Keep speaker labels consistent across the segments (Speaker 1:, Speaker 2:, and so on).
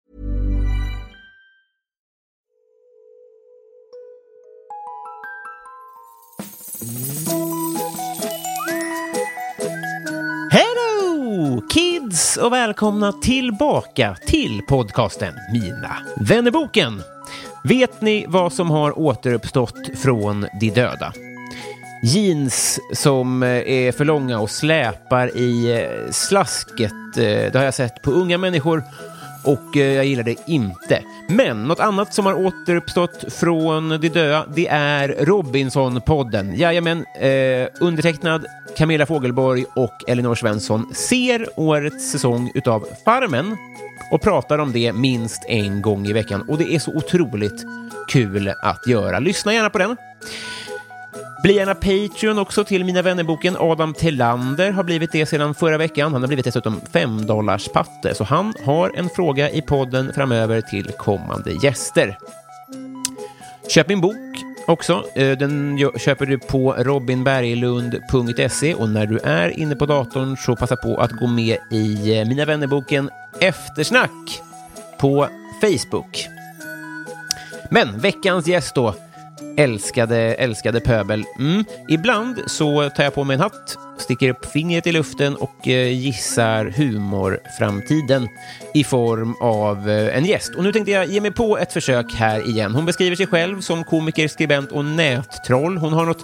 Speaker 1: Hello kids och välkomna tillbaka till podcasten Mina vännerboken. Vet ni vad som har återuppstått från de döda? Jeans som eh, är för långa och släpar i eh, slasket. eh, Det har jag sett på unga människor och eh, jag gillar det inte. Men något annat som har återuppstått från de döda, det är Robinson-podden. Jajamän, eh, undertecknad Camilla Fogelborg och Elinor Svensson ser årets säsong utav Farmen och pratar om det minst en gång i veckan. Och det är så otroligt kul att göra. Lyssna gärna på den. Bli gärna Patreon också till Mina vännerboken. Adam Tillander har blivit det sedan förra veckan. Han har blivit dessutom 5 patte, så han har en fråga i podden framöver till kommande gäster. Köp min bok också. Eh, Den gö- köper du på robinberglund.se och när du är inne på datorn så passa på att gå med i eh, Mina vännerboken Eftersnack på Facebook. Men veckans gäst då, älskade, älskade pöbel. Mm. Ibland så tar jag på mig en hatt, sticker upp fingret i luften och eh, gissar humorframtiden i form av eh, en gäst. Och nu tänkte jag ge mig på ett försök här igen. Hon beskriver sig själv som komiker, skribent och nättroll. Hon har något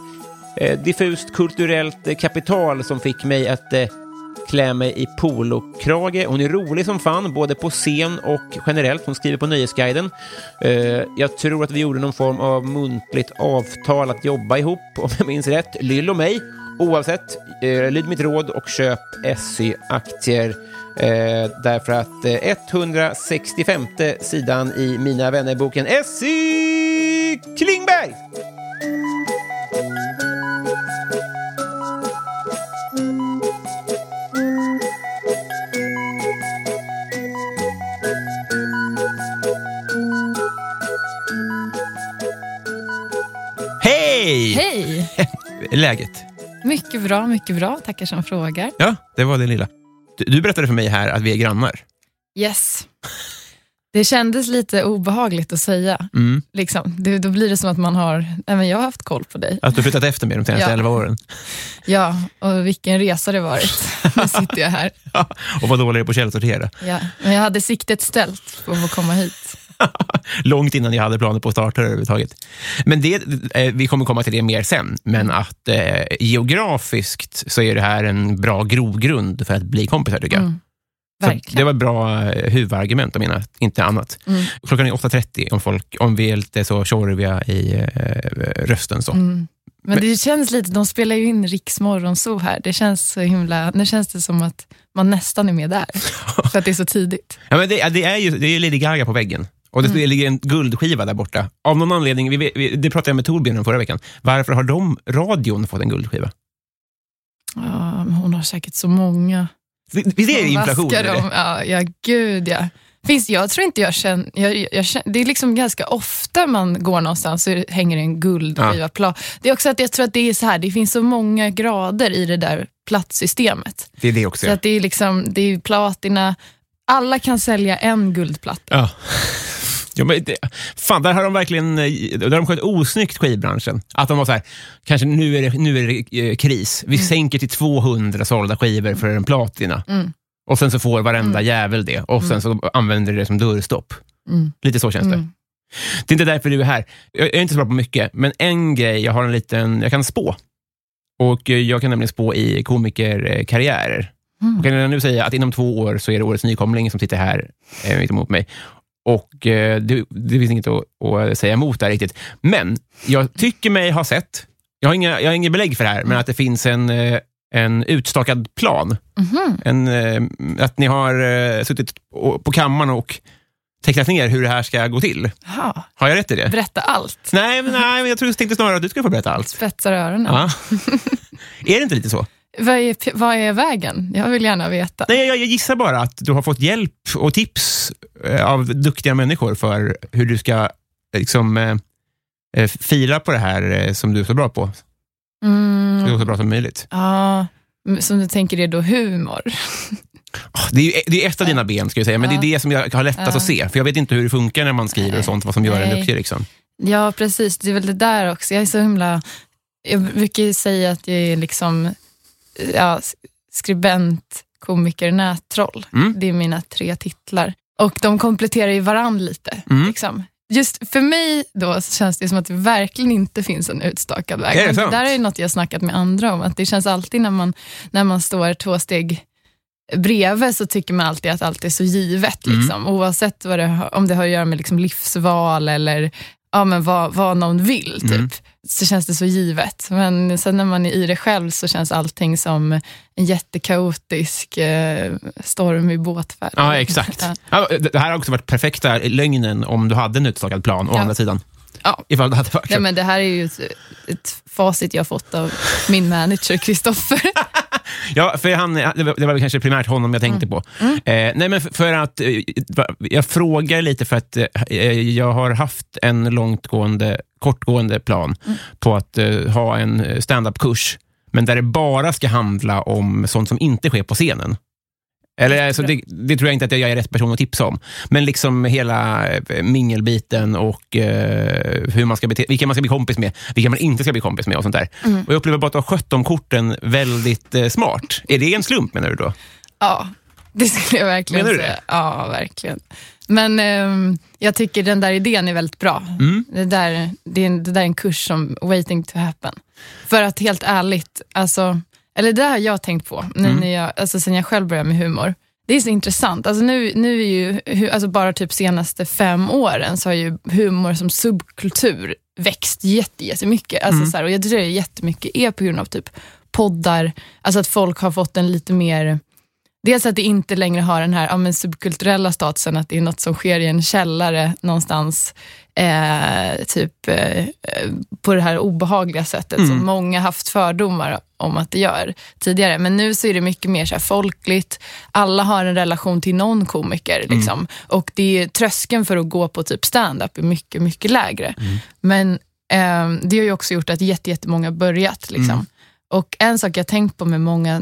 Speaker 1: eh, diffust kulturellt eh, kapital som fick mig att eh, klä mig i polokrage. Hon är rolig som fan, både på scen och generellt. Hon skriver på Nöjesguiden. Eh, jag tror att vi gjorde någon form av muntligt avtal att jobba ihop, om jag minns rätt. Lill och mig. Oavsett, eh, lyd mitt råd och köp SY-aktier. Eh, därför att eh, 165 sidan i Mina vänner-boken SY Klingberg!
Speaker 2: Hej!
Speaker 3: Hej!
Speaker 2: Läget?
Speaker 3: Mycket bra, mycket bra. Tackar som frågar.
Speaker 2: Ja, det var det lilla. Du, du berättade för mig här att vi är grannar.
Speaker 3: Yes. Det kändes lite obehagligt att säga.
Speaker 2: Mm.
Speaker 3: Liksom. Det, då blir det som att man har, även jag har haft koll på dig.
Speaker 2: Att Alltså, du har flyttat efter mig de senaste
Speaker 3: Ja.
Speaker 2: elva åren.
Speaker 3: Ja, och vilken resa det varit. Nu sitter jag här.
Speaker 2: Och vad dålig jag är på att källsortera.
Speaker 3: Ja. Men jag hade siktet ställt på att få komma hit.
Speaker 2: Långt innan jag hade planer på att starta det överhuvudtaget. Men det, eh, vi kommer komma till det mer sen, men att eh, geografiskt så är det här en bra grogrund för att bli kompisar tycker jag.
Speaker 3: Mm.
Speaker 2: Så det
Speaker 3: Verkligen.
Speaker 2: var ett bra eh, huvudargument om mina, inte annat.
Speaker 3: Mm.
Speaker 2: Klockan är 8.30 om, folk, om vi är lite så tjorviga i eh, rösten. Så.
Speaker 3: Mm. Men det känns lite, de spelar ju in Riksmorgon så här. Det känns så himla, nu känns det som att man nästan är med där. För att det är så tidigt.
Speaker 2: Ja, men det, det är ju det är ju Lady Gaga på väggen. Och det, det
Speaker 3: Mm.
Speaker 2: ligger en guldskiva där borta. Av någon anledning, vi, vet- vi, det pratade jag med Torbjörn om förra veckan. Varför har de, radion, fått en guldskiva?
Speaker 3: Ja, men hon har säkert så många.
Speaker 2: Vi- Visst är det
Speaker 3: Man
Speaker 2: inflation?
Speaker 3: vaskar
Speaker 2: eller?
Speaker 3: dem. Ja, ja, gud ja. Finns, jag tror inte jag känner, jag, jag känner... Det är liksom ganska ofta man går någonstans så hänger det en guldskiva. Pla- det är också att jag tror att det är så här, det finns så många grader i det där platssystemet.
Speaker 2: Det är det också.
Speaker 3: Så att det är liksom, det är platina, alla kan sälja en guldplatta.
Speaker 2: Ja. Ja, men det, fan, där har de verkligen eh, där har de skött osnyggt skivbranschen. Att de var så här, kanske nu är det, nu är det eh, kris. Vi sänker till 200 sålda skivor för en platina.
Speaker 1: Och sen så får varenda jävel det och sen så använder du det som dörrstopp. Lite så känns det. Det är inte därför du är här. Jag är inte så bra på mycket, men en grej, jag har en liten, jag kan spå. Och eh, jag kan nämligen spå i komikerkarriärer. Och kan Mm. jag redan nu säga att inom två år så är det årets nykomling som sitter här eh, mitt emot mig. Och eh, det, det finns inget att, att säga emot där riktigt. Men jag tycker mig ha sett, jag har inga, jag har inga belägg för det här, men att det finns en, eh, en utstakad plan. En, eh, att ni har eh, suttit på, på kammaren och tecknat ner hur det här ska gå till.
Speaker 3: Jaha,
Speaker 1: Har jag rätt i det?
Speaker 3: berätta allt.
Speaker 1: Nej, men, nej, men jag tror, tänkte snarare att du skulle få berätta allt.
Speaker 3: Spetsar öronen.
Speaker 1: Ja. är det inte lite så?
Speaker 3: Vad, är, vad är vägen? Jag vill gärna veta.
Speaker 1: Nej, jag, jag gissar bara att du har fått hjälp och tips eh, av duktiga människor för hur du ska eh, liksom, eh, eh, fila på det här eh, som du är så bra på.
Speaker 3: Mm,
Speaker 1: Så bra som möjligt.
Speaker 3: ja, men som du tänker är då humor.
Speaker 1: Ah, Det är, ju- det är ett av dina ben, ska jag säga, men det är det som jag har lättast att se. För jag vet inte hur det funkar när man skriver och sånt, vad som gör en
Speaker 3: Nej.
Speaker 1: duktig. Liksom.
Speaker 3: Ja, precis. Det är väl det där också. Jag är så himla... Jag brukar ju säga att jag är liksom ja, s- skribent, komiker, nättroll.
Speaker 1: Mm.
Speaker 3: Det är mina tre titlar. Och de kompletterar ju varann lite.
Speaker 1: Mm.
Speaker 3: Liksom. Just för mig då så känns det som att det verkligen inte finns en utstakad väg.
Speaker 1: Är det
Speaker 3: Och
Speaker 1: sant?
Speaker 3: där är ju något jag snackat med andra om, att det känns alltid när man, när man står två steg bredvid så tycker man alltid att allt är så givet.
Speaker 1: Mm.
Speaker 3: Liksom. Oavsett vad det, har- om det har att göra med liksom livsval eller ja, men vad, vad någon vill, typ,
Speaker 1: Mm.
Speaker 3: så känns det så givet. Men sen när man är i det själv så känns allting som en jättekaotisk eh, storm i båtfärd.
Speaker 1: Ja, exakt.
Speaker 3: Ja.
Speaker 1: Ja, det det här har också varit perfekta lögnen om du hade en utstakad plan, å
Speaker 3: Ja.
Speaker 1: andra sidan.
Speaker 3: Ja.
Speaker 1: Ifall det hade varit
Speaker 3: Nej,
Speaker 1: så.
Speaker 3: men det här är ju ett, ett facit jag fått av min manager Kristoffer.
Speaker 1: Ja, för han, det var- det var väl kanske primärt honom jag tänkte på. Eh, nej, men för, för att, eh, va- jag frågar lite för att eh, jag har haft en långtgående, kortgående plan på att eh, ha en eh, stand-up-kurs, men där det bara ska handla om sånt som inte sker på scenen. Eller, alltså, det, det tror jag inte att jag är rätt person att tipsa om. Men liksom hela eh, mingelbiten och eh, hur man ska bete, vilka man ska bli kompis med, vilka man inte ska bli kompis med och sånt där. Och jag upplever bara att du har skött de korten väldigt eh, smart. Är det en slump menar du då?
Speaker 3: Ja, det skulle jag verkligen
Speaker 1: Menar du
Speaker 3: säga.
Speaker 1: det?
Speaker 3: Ja, verkligen. Men ehm, jag tycker den där idén är väldigt bra.
Speaker 1: Mm.
Speaker 3: Det, där, det, är en, det där är en kurs som waiting to happen. För att helt ärligt, alltså, eller det där har jag tänkt på nu
Speaker 1: Mm.
Speaker 3: när jag, alltså, sen jag själv började med humor. Det är så intressant. Alltså nu, nu är ju, hu- alltså bara typ senaste fem åren så har ju humor som subkultur växt jätte- jättemycket. Alltså
Speaker 1: Mm.
Speaker 3: så här, och jag tror det jättemycket är på grund av typ poddar, alltså att folk har fått en lite mer Dels att det inte längre har den här ja, men subkulturella statusen, att det är något som sker i en källare någonstans, eh, typ eh, eh, på det här obehagliga sättet som många haft fördomar om att det gör tidigare. Men nu så är det mycket mer så här folkligt, alla har en relation till någon komiker. Liksom. Och det är, tröskeln för att gå på typ stand-up är mycket, mycket lägre. Men Ehm, det har ju också gjort att jätte- jättemånga börjat. Liksom. Och en sak jag tänkt på med många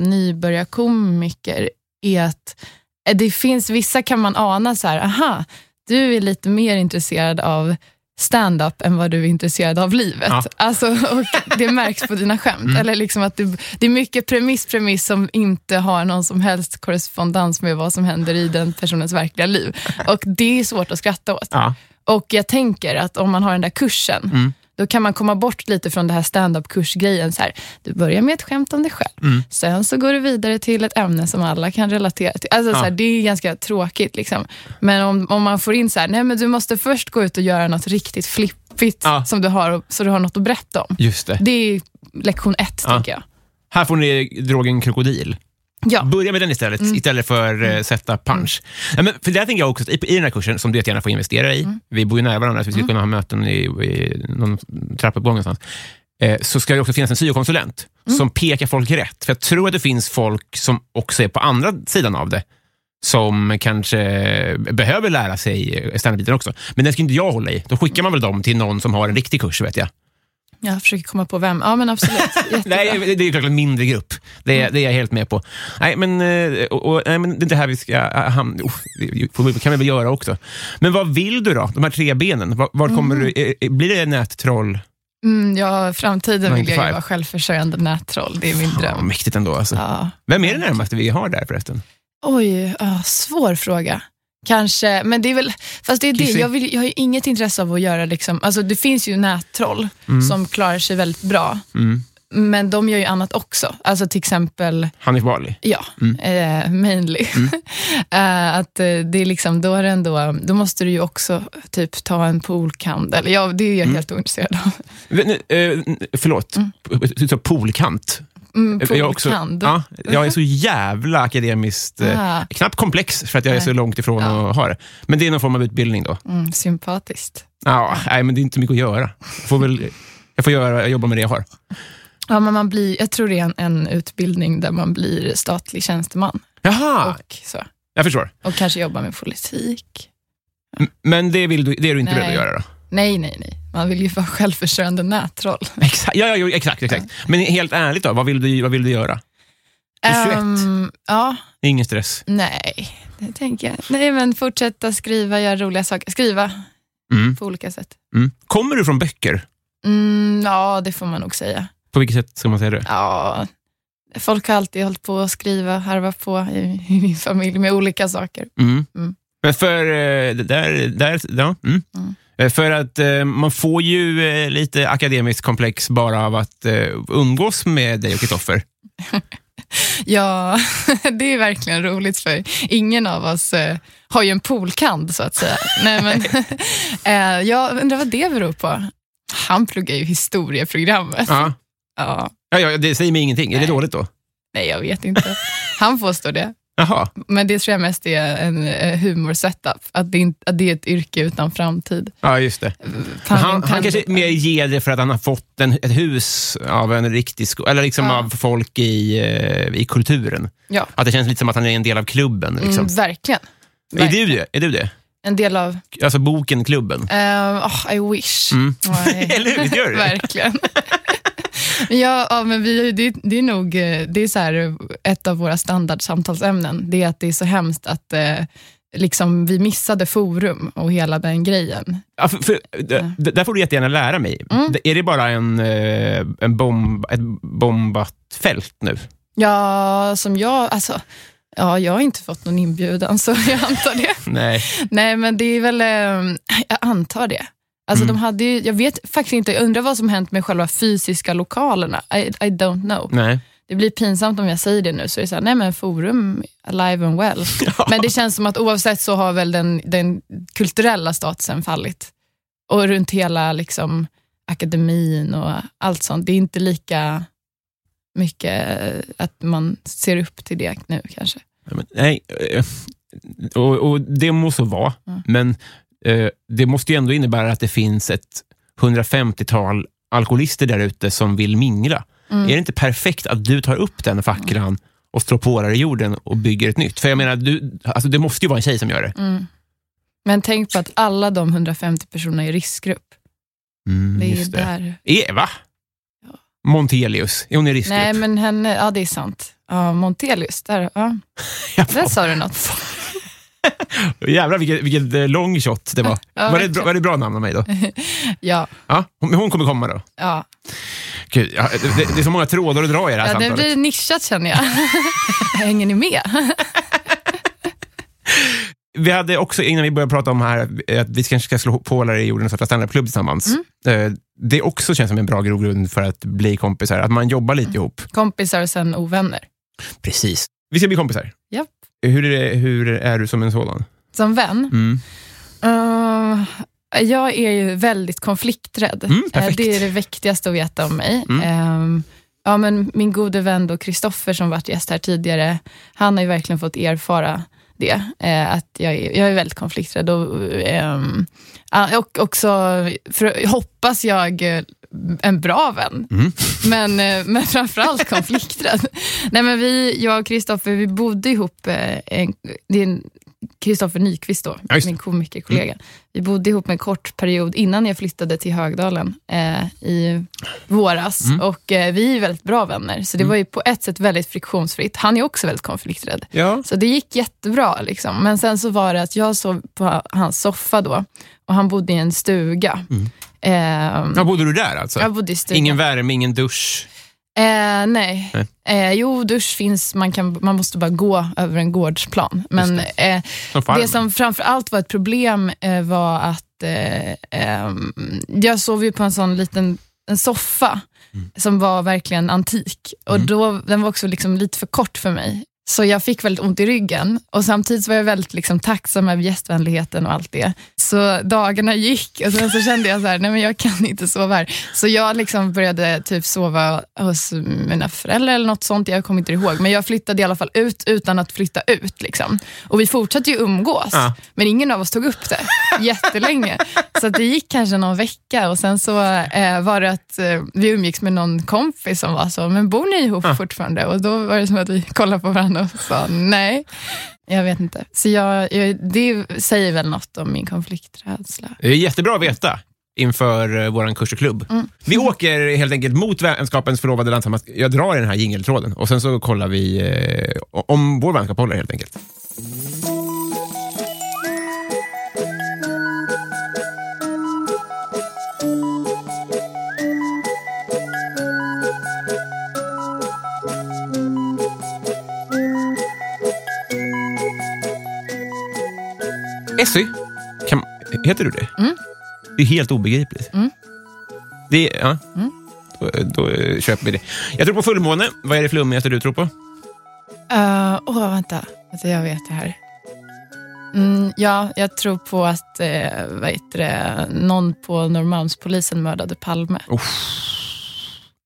Speaker 3: nybörjarkomiker är att eh, det finns vissa kan man ana så här, aha, du är lite mer intresserad av stand-up än vad du är intresserad av livet.
Speaker 1: Ja. Mm.
Speaker 3: Alltså, och det märks på dina skämt. Eller liksom att det, det är mycket premiss, premiss som inte har någon som helst korrespondens med vad som händer i den personens verkliga liv. Och det är svårt att skratta åt.
Speaker 1: Ja.
Speaker 3: Och jag tänker att om man har den där kursen,
Speaker 1: Mm.
Speaker 3: då kan man komma bort lite från det här stand-up kursgrejen. Så här, du börjar med ett skämt om dig själv,
Speaker 1: Mm.
Speaker 3: sen så går du vidare till ett ämne som alla kan relatera till. Alltså, så här, det är ganska tråkigt. Liksom. Men om, om man får in så här, nej men du måste först gå ut och göra något riktigt flippigt,
Speaker 1: Ja.
Speaker 3: som du har, så du har något att berätta om.
Speaker 1: Just det.
Speaker 3: Det är lektion ett,
Speaker 1: Ja.
Speaker 3: tänker jag.
Speaker 1: Här får ni drogen krokodil.
Speaker 3: Ja.
Speaker 1: Börja med den istället, istället för eh, sätta punch. Ja, men för det här tänker jag också, att i, i den här kursen, som du jättegärna får investera i, vi bor ju nära varandra, så vi skulle kunna ha möten i, i någon trappuppgång någonstans, eh, så ska det också finnas en syokonsulent som pekar folk rätt. För jag tror att det finns folk som också är på andra sidan av det, som kanske behöver lära sig standardbiten också. Men den ska inte jag hålla i. Då skickar man väl dem till någon som har en riktig kurs, vet jag.
Speaker 3: Jag försöker komma på vem. Ja, men absolut. Jättebra.
Speaker 1: Nej, det är klart en mindre grupp. Det är,
Speaker 3: Mm.
Speaker 1: det är jag helt med på. Nej, men, eh, och, och, nej, men det är inte här vi ska ah, hamna. Oh, det får vi- kan vi väl göra också. Men vad vill du då? De här tre benen. Var, var kommer du, eh, eh, blir det nättroll?
Speaker 3: Mm, ja, framtiden vill jag
Speaker 1: 95.
Speaker 3: ju vara självförsörjande nättroll. Det är min
Speaker 1: Ja,
Speaker 3: dröm.
Speaker 1: mäktigt ändå. Alltså.
Speaker 3: Ja.
Speaker 1: Vem är det närmaste vi har där förresten?
Speaker 3: Oj, ah, svår fråga. Kanske, men det är väl, fast det är det.
Speaker 1: Kissing.
Speaker 3: Jag, vill, jag har ju inget intresse av att göra, liksom, alltså det finns ju nättroll som klarar sig väldigt bra,
Speaker 1: Mm.
Speaker 3: men de gör ju annat också. Alltså till exempel,
Speaker 1: Hanif Bali.
Speaker 3: ja,
Speaker 1: Mm.
Speaker 3: eh, mainly. Eh, att eh, det är liksom, då är det ändå, då måste du ju också typ ta en poolkand, eller ja, det är jag
Speaker 1: Mm.
Speaker 3: helt ointresserad av.
Speaker 1: Vet ni, eh, förlåt, du sa poolkant.
Speaker 3: Mm,
Speaker 1: Jag är också-
Speaker 3: poolkand.
Speaker 1: Ja, jag är så jävla akademiskt, eh,
Speaker 3: Mm. Ah.
Speaker 1: knappt komplex för att jag är så
Speaker 3: Nej.
Speaker 1: långt ifrån
Speaker 3: Ja.
Speaker 1: att ha det. Men det är någon form av utbildning då.
Speaker 3: Mm, sympatiskt.
Speaker 1: Ja, nej, men det är inte mycket att göra. Jag får, väl, jag får göra, jag jobbar med det jag har.
Speaker 3: Ja, men man blir, jag tror det är en, en utbildning där man blir statlig tjänsteman.
Speaker 1: Jaha,
Speaker 3: Och, så.
Speaker 1: jag förstår.
Speaker 3: och kanske jobba med politik.
Speaker 1: M- Men det, vill du, det är du inte
Speaker 3: Nej.
Speaker 1: beredd att göra då?
Speaker 3: Nej, nej, nej. Man vill ju vara självförsörjande nätroll.
Speaker 1: Exakt, ja, ja, jo, exakt, exakt. Men helt ärligt då, vad vill du, vad vill du göra? Du är 21.
Speaker 3: Ehm, ja,
Speaker 1: Det är ingen stress.
Speaker 3: nej. Det tänker jag. Nej, men fortsätta skriva, göra roliga saker. Skriva
Speaker 1: Mm,
Speaker 3: på olika sätt.
Speaker 1: mm. Kommer du från böcker?
Speaker 3: Mm, ja, det får man nog säga.
Speaker 1: På vilket sätt ska man säga det?
Speaker 3: Ja, folk har alltid hållit på att skriva, harva på i, i min familj med olika saker.
Speaker 1: Mm.
Speaker 3: Mm.
Speaker 1: Men för, eh, det där, där, ja, mm.
Speaker 3: Mm.
Speaker 1: Eh, för att eh, man får ju eh, lite akademiskt komplex bara av att eh, umgås med dig och Kristoffer.
Speaker 3: Ja, det är verkligen roligt för ingen av oss eh, har ju en poolkand så att säga. Nej, men, eh, jag undrar vad det beror på. Han pluggar ju historieprogrammet.
Speaker 1: Ja.
Speaker 3: Ja,
Speaker 1: Ja, ja, det säger mig ingenting. Är det dåligt då?
Speaker 3: nej, jag vet inte. Han påstår det.
Speaker 1: Jaha.
Speaker 3: Men det tror jag mest är en eh, humorsetup. Att det, inte, att det är ett yrke utan framtid.
Speaker 1: Ja, just det.
Speaker 3: Pun
Speaker 1: Han, han
Speaker 3: intended.
Speaker 1: kanske mer ger det för att han har fått en, ett hus av en riktig sko- eller liksom
Speaker 3: Ja.
Speaker 1: av folk i, eh, i kulturen.
Speaker 3: Ja,
Speaker 1: Att det känns lite som att han är en del av klubben. Liksom.
Speaker 3: mm, verkligen.
Speaker 1: är, du det? är du det?
Speaker 3: En del av,
Speaker 1: Alltså boken Klubben?
Speaker 3: eh, oh, I wish.
Speaker 1: Mm.
Speaker 3: Nej.
Speaker 1: Eller hur? Visst gör du det?
Speaker 3: Verkligen. Men ja, ja, men vi, det, det är nog eh, det är så här, eh, ett av våra standardsamtalsämnen. Det är att det är så hemskt att eh, liksom, vi missade forum och hela den grejen.
Speaker 1: Ja, för, för, d- d- där får du jättegärna lära mig.
Speaker 3: Mm.
Speaker 1: D- Är det bara en, eh, en bomb, ett bombat fält nu?
Speaker 3: Ja, som jag... Alltså, Ja, jag har inte fått någon inbjudan, så jag antar det.
Speaker 1: Nej.
Speaker 3: Nej, men det är väl... eh, Jag antar det. Alltså, de hade ju, jag vet faktiskt inte, jag undrar vad som hänt med själva fysiska lokalerna. I, I don't know.
Speaker 1: Nej.
Speaker 3: det blir pinsamt om jag säger det nu, så det är så här, nej men forum, alive and well. Men det känns som att oavsett så har väl den, den kulturella statusen fallit. Och runt hela liksom, akademin och allt sånt. Det är inte lika mycket eh, att man ser upp till det nu kanske.
Speaker 1: Ja, men, nej. eh, Och, och det må så vara,
Speaker 3: Mm.
Speaker 1: men eh, det måste ju ändå innebära att det finns ett 150-tal alkoholister där ute som vill mingla.
Speaker 3: Mm.
Speaker 1: Är det inte perfekt att du tar upp den facklan och strår på i jorden och bygger ett nytt? För jag menar, du, alltså, det måste ju vara en tjej som gör det.
Speaker 3: Mm. Men tänk på att alla de 150 personerna är i riskgrupp.
Speaker 1: Mm,
Speaker 3: Det är ju
Speaker 1: just
Speaker 3: där.
Speaker 1: Eva Montelius, är hon i riskgrupp?
Speaker 3: Nej men henne, ja det är sant. Ja, Montelius, där, ja.
Speaker 1: Ja,
Speaker 3: där sa du något.
Speaker 1: Jävlar vilket, vilket eh, long shot det var. var,
Speaker 3: Ja,
Speaker 1: det ett
Speaker 3: verkligen.
Speaker 1: bra, var det ett bra namn av mig då?
Speaker 3: Ja,
Speaker 1: Ja, hon, hon kommer komma då.
Speaker 3: ja.
Speaker 1: Gud, ja, det, det är så många trådar att dra i det här
Speaker 3: Ja, det
Speaker 1: samtalet.
Speaker 3: blir nischat känner jag. Hänger ni med?
Speaker 1: Vi hade också, innan vi började prata om här, eh, att vi kanske ska slå pålar i jorden och starta standupklubb tillsammans.
Speaker 3: Mm.
Speaker 1: Eh, Det också känns som en bra grogrund för att bli kompisar, att man jobbar
Speaker 3: Mm.
Speaker 1: lite ihop.
Speaker 3: Kompisar och sen ovänner.
Speaker 1: Precis. Vi ska bli kompisar.
Speaker 3: Japp.
Speaker 1: Hur är, det, hur är du som en sådan?
Speaker 3: Som vän?
Speaker 1: Mm.
Speaker 3: Eh, jag är ju väldigt konflikträdd.
Speaker 1: Mm,
Speaker 3: Eh,
Speaker 1: perfekt. Mm.
Speaker 3: det är det viktigaste att veta om mig. Eh, ja, men min gode vän då, Kristoffer som varit gäst här tidigare, han har ju verkligen fått erfara det. eh, att jag är, jag är väldigt konflikträdd. Och, ehm, ja, och också, för, hoppas jag, eh, en bra vän. Men, eh, men framförallt konflikträdd. Nej, men vi, jag och Kristoffer, vi bodde ihop, eh, en, det är en Kristoffer Nyqvist då,
Speaker 1: Ja, just det. Mm.
Speaker 3: min komikerkollega. Vi bodde ihop en kort period innan jag flyttade till Högdalen eh, i våras.
Speaker 1: Mm.
Speaker 3: Och eh, vi är väldigt bra vänner, så det var ju på ett sätt väldigt friktionsfritt. Han är också väldigt konflikträdd.
Speaker 1: Ja.
Speaker 3: Så det gick jättebra. Liksom. Men sen så var det att jag sov på hans soffa då och han bodde i en stuga. Ehm,
Speaker 1: Mm. ja, bodde du där alltså?
Speaker 3: jag bodde i stuga.
Speaker 1: Ingen värme, ingen dusch.
Speaker 3: Eh, nej.
Speaker 1: Nej.
Speaker 3: Eh, jo, dusch finns, man, kan, man måste bara gå över en gårdsplan. Men
Speaker 1: Just
Speaker 3: eh,
Speaker 1: Som
Speaker 3: det som framför allt var ett problem eh, var att eh, ehm, jag sov ju på en sån liten en soffa
Speaker 1: Mm.
Speaker 3: som var verkligen antik. Och då, Den var också liksom lite för kort för mig. Så jag fick väldigt ont i ryggen och samtidigt var jag väldigt liksom, tacksam över gästvänligheten och allt det. Så dagarna gick och sen så kände jag så här, nej men jag kan inte sova här. Så jag liksom började typ sova hos mina föräldrar eller något sånt, jag kommer inte ihåg. Men jag flyttade i alla fall ut utan att flytta ut. Liksom. Och vi fortsatte ju umgås,
Speaker 1: Ja.
Speaker 3: men ingen av oss tog upp det jättelänge. Så att det gick kanske någon vecka och sen så eh, var det att eh, vi umgicks med någon kompis som var så, men bor ni ihop fortfarande? Och då var det som att vi kollade på varandra och sa nej. Jag vet inte. Så jag, jag, det säger väl något om min konflikträdsla.
Speaker 1: Det är jättebra att veta inför eh, vår kurs och klubb.
Speaker 3: Mm.
Speaker 1: Vi åker helt enkelt mot vänskapens förlovade land tillsammans. Jag drar i den här jingeltråden och sen så kollar vi eh, om vår vänskap håller helt enkelt. Essy, kan, heter du det?
Speaker 3: Mm.
Speaker 1: Det är helt obegripligt. Det, ja.
Speaker 3: Mm.
Speaker 1: Då, då eh, köper vi det. Jag tror på fullmåne. Vad är det flummigaste du tror på?
Speaker 3: Eh, Åh, vänta. vänta. Jag vet det här. Mm, ja, jag tror på att eh, vad heter det, någon på Norrmalmspolisen mördade Palme.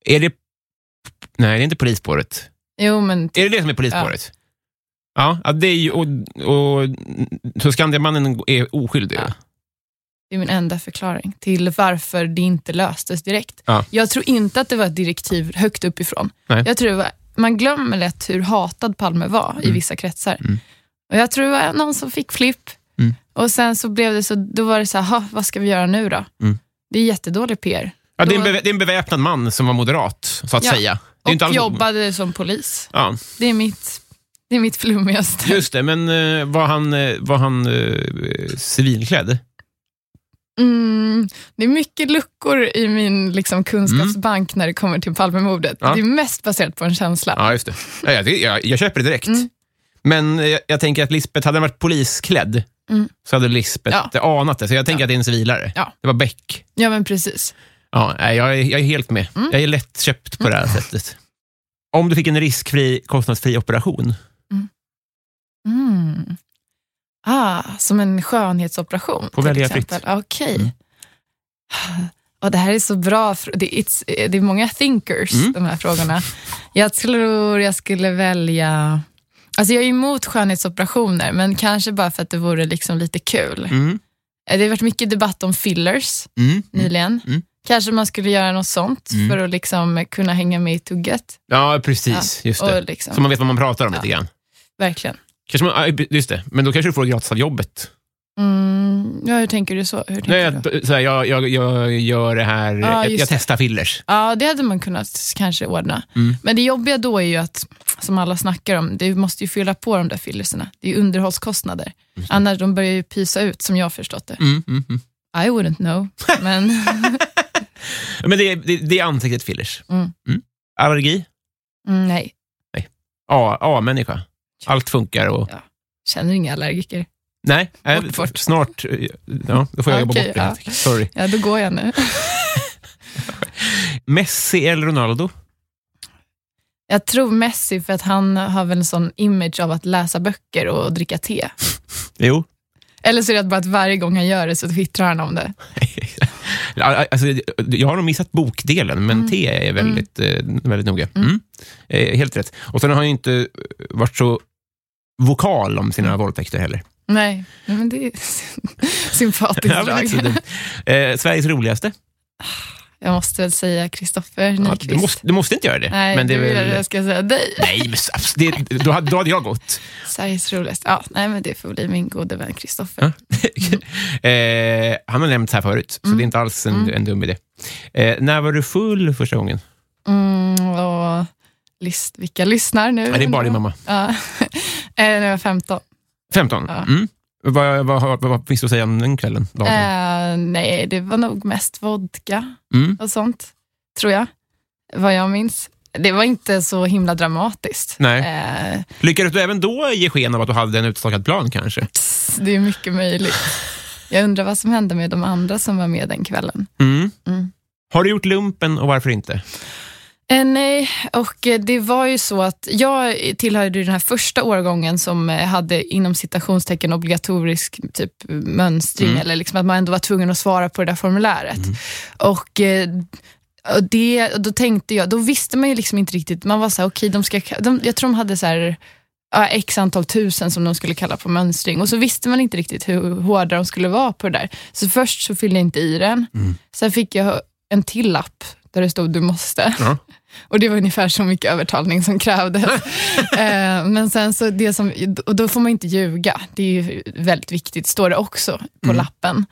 Speaker 1: Är det... Nej, det är inte polisspåret.
Speaker 3: Jo, men
Speaker 1: Är det det som är polisspåret? Ja. ja, det är ju... Och, och, så Skandiamannen är oskyldig.
Speaker 3: Ja. det är min enda förklaring till varför det inte löstes direkt.
Speaker 1: Ja.
Speaker 3: Jag tror inte att det var ett direktiv högt uppifrån.
Speaker 1: Nej.
Speaker 3: Jag tror det var, man glömmer lätt hur hatad Palme var
Speaker 1: Mm.
Speaker 3: i vissa kretsar. Och jag tror det var någon som fick flipp
Speaker 1: Mm.
Speaker 3: och sen så blev det så, då var det så här, "Ha, vad ska vi göra nu då?
Speaker 1: Mm.
Speaker 3: Det är jättedålig PR.
Speaker 1: Ja, det, är en
Speaker 3: Då-
Speaker 1: beve- det är en beväpnad man som var moderat, så att
Speaker 3: Ja.
Speaker 1: säga. Det är
Speaker 3: Och
Speaker 1: inte alls-
Speaker 3: jobbade som polis.
Speaker 1: Ja,
Speaker 3: Det är mitt, det är mitt flummigaste.
Speaker 1: just det. Men eh, var han, eh, var han eh, civilklädd?
Speaker 3: Mm, det är mycket luckor i min liksom, kunskapsbank när det kommer till Palmemordet.
Speaker 1: Ja.
Speaker 3: Det är mest baserat på en känsla.
Speaker 1: Ja, just det. Ja, jag, jag, jag köper det direkt.
Speaker 3: Mm.
Speaker 1: Men eh, jag, jag tänker att Lisbeth, hade den varit polisklädd, så hade Lisbeth anat det. Så jag tänker att det är en civilare.
Speaker 3: Mm. Ja.
Speaker 1: Det var Beck.
Speaker 3: Ja, men precis.
Speaker 1: Ja, nej, jag, är, jag är helt med.
Speaker 3: Mm.
Speaker 1: Jag är lättköpt på det här sättet. Om du fick en riskfri, kostnadsfri operation,
Speaker 3: Mm. Ah, som en skönhetsoperation.
Speaker 1: Får
Speaker 3: till
Speaker 1: välja
Speaker 3: exempel.
Speaker 1: fritt.
Speaker 3: Ah, Okej. Och det här är så bra. fr- Det är, it's- eh, det är många thinkers, de här frågorna. Jag tror jag skulle välja... Alltså jag är emot skönhetsoperationer, men kanske bara för att det vore liksom lite kul.
Speaker 1: Mm.
Speaker 3: Eh, Det har varit mycket debatt om fillers nyligen.
Speaker 1: Mm.
Speaker 3: Kanske man skulle göra något sånt för att liksom kunna hänga med i tugget.
Speaker 1: Ja, precis.
Speaker 3: Ja,
Speaker 1: Just det.
Speaker 3: och liksom-
Speaker 1: Så man vet vad man pratar om lite grann.
Speaker 3: Verkligen.
Speaker 1: Kanske man, ja, just det. Men då kanske du får gratis av jobbet.
Speaker 3: Mm, ja, hur tänker du så? Hur
Speaker 1: Nej,
Speaker 3: tänker du?
Speaker 1: jag, så här, jag, jag, jag gör det här,
Speaker 3: Ja,
Speaker 1: jag,
Speaker 3: just
Speaker 1: jag
Speaker 3: det.
Speaker 1: testar fillers.
Speaker 3: Ja, det hade man kunnat kanske ordna.
Speaker 1: Mm.
Speaker 3: Men det jobbiga då är ju att, som alla snackar om, du måste ju fylla på de där fyllerserna. Det är ju underhållskostnader. Annars de börjar ju pysa ut, som jag har förstått det.
Speaker 1: Mm, mm, mm.
Speaker 3: I wouldn't know, men
Speaker 1: Men det, är- det, det är ansiktet fillers.
Speaker 3: Mm.
Speaker 1: Allergi?
Speaker 3: mm, nej,
Speaker 1: A- A-människa. Allt funkar och...
Speaker 3: känner inga allergiker.
Speaker 1: Nej, eh,
Speaker 3: Bort, bort.
Speaker 1: snart... eh, Ja, då får jag jobba
Speaker 3: Okej,
Speaker 1: bort det.
Speaker 3: ja.
Speaker 1: helt enkelt. Sorry.
Speaker 3: Ja, då går jag nu.
Speaker 1: Messi eller Ronaldo?
Speaker 3: Jag tror Messi för att han har väl en sån image av att läsa böcker och dricka te.
Speaker 1: Jo.
Speaker 3: Eller så är det bara att varje gång han gör det så twittrar han om det.
Speaker 1: alltså, jag har nog missat bokdelen, men
Speaker 3: Mm.
Speaker 1: T är väldigt, eh, väldigt noga. Mm. Eh, helt rätt. Och sen har han ju inte eh, varit så vokal om sina
Speaker 3: Mm.
Speaker 1: våldtäkter heller.
Speaker 3: Nej, nej, men det är sympatiskt
Speaker 1: Ja, men det är
Speaker 3: drag.
Speaker 1: inte så dumt. eh, Sveriges roligaste?
Speaker 3: Mm, Jag måste väl säga Kristoffer
Speaker 1: Ja,
Speaker 3: Nyqvist.
Speaker 1: du, måste, du måste inte göra det.
Speaker 3: Nej,
Speaker 1: men det är
Speaker 3: du vill att
Speaker 1: väl...
Speaker 3: jag ska säga dig.
Speaker 1: Nej, men abs- det, då, hade- då hade jag gått.
Speaker 3: Sveriges roligaste. Ja, nej, men det får bli min gode vän Kristoffer.
Speaker 1: Ja. eh, han har nämnts här förut, så
Speaker 3: Mm.
Speaker 1: det är inte alls en, en dum idé. Eh, när var du full första gången?
Speaker 3: Mm, och list, vilka lyssnar nu?
Speaker 1: Ja, det är bara din mamma.
Speaker 3: Ja. Eh, När jag var 15.
Speaker 1: 15?
Speaker 3: Ja.
Speaker 1: Mm. Vad, vad, vad, vad finns det att säga om den kvällen? dagen?
Speaker 3: Eh, nej, det var nog mest vodka
Speaker 1: Mm.
Speaker 3: och sånt, tror jag. Vad jag minns. det var inte så himla dramatiskt.
Speaker 1: Nej.
Speaker 3: Eh,
Speaker 1: Lyckades du även då ge sken av att du hade en utstakad plan kanske?
Speaker 3: pss, det är mycket möjligt. Jag undrar vad som hände med de andra som var med den kvällen.
Speaker 1: Mm.
Speaker 3: Mm.
Speaker 1: Har du gjort lumpen och varför inte?
Speaker 3: Eh, nej, och eh, det var ju så att jag tillhörde ju den här första årgången som eh, hade inom citationstecken obligatorisk typ mönstring, eller liksom att man ändå var tvungen att svara på det där formuläret. Och eh, och det, och då tänkte jag, då visste man ju liksom inte riktigt, man var så här, okej, de ska, de, jag tror de hade så här, ja, x antal tusen som de skulle kalla på mönstring och så visste man inte riktigt hur hårda de skulle vara på det där. Så först så fyllde jag inte i den, sen fick jag en till lapp där det stod du måste.
Speaker 1: Ja.
Speaker 3: Och det var ungefär så mycket övertalning som krävdes. eh, men sen så, det som, och då får man inte ljuga, det är ju väldigt viktigt, står det också på lappen.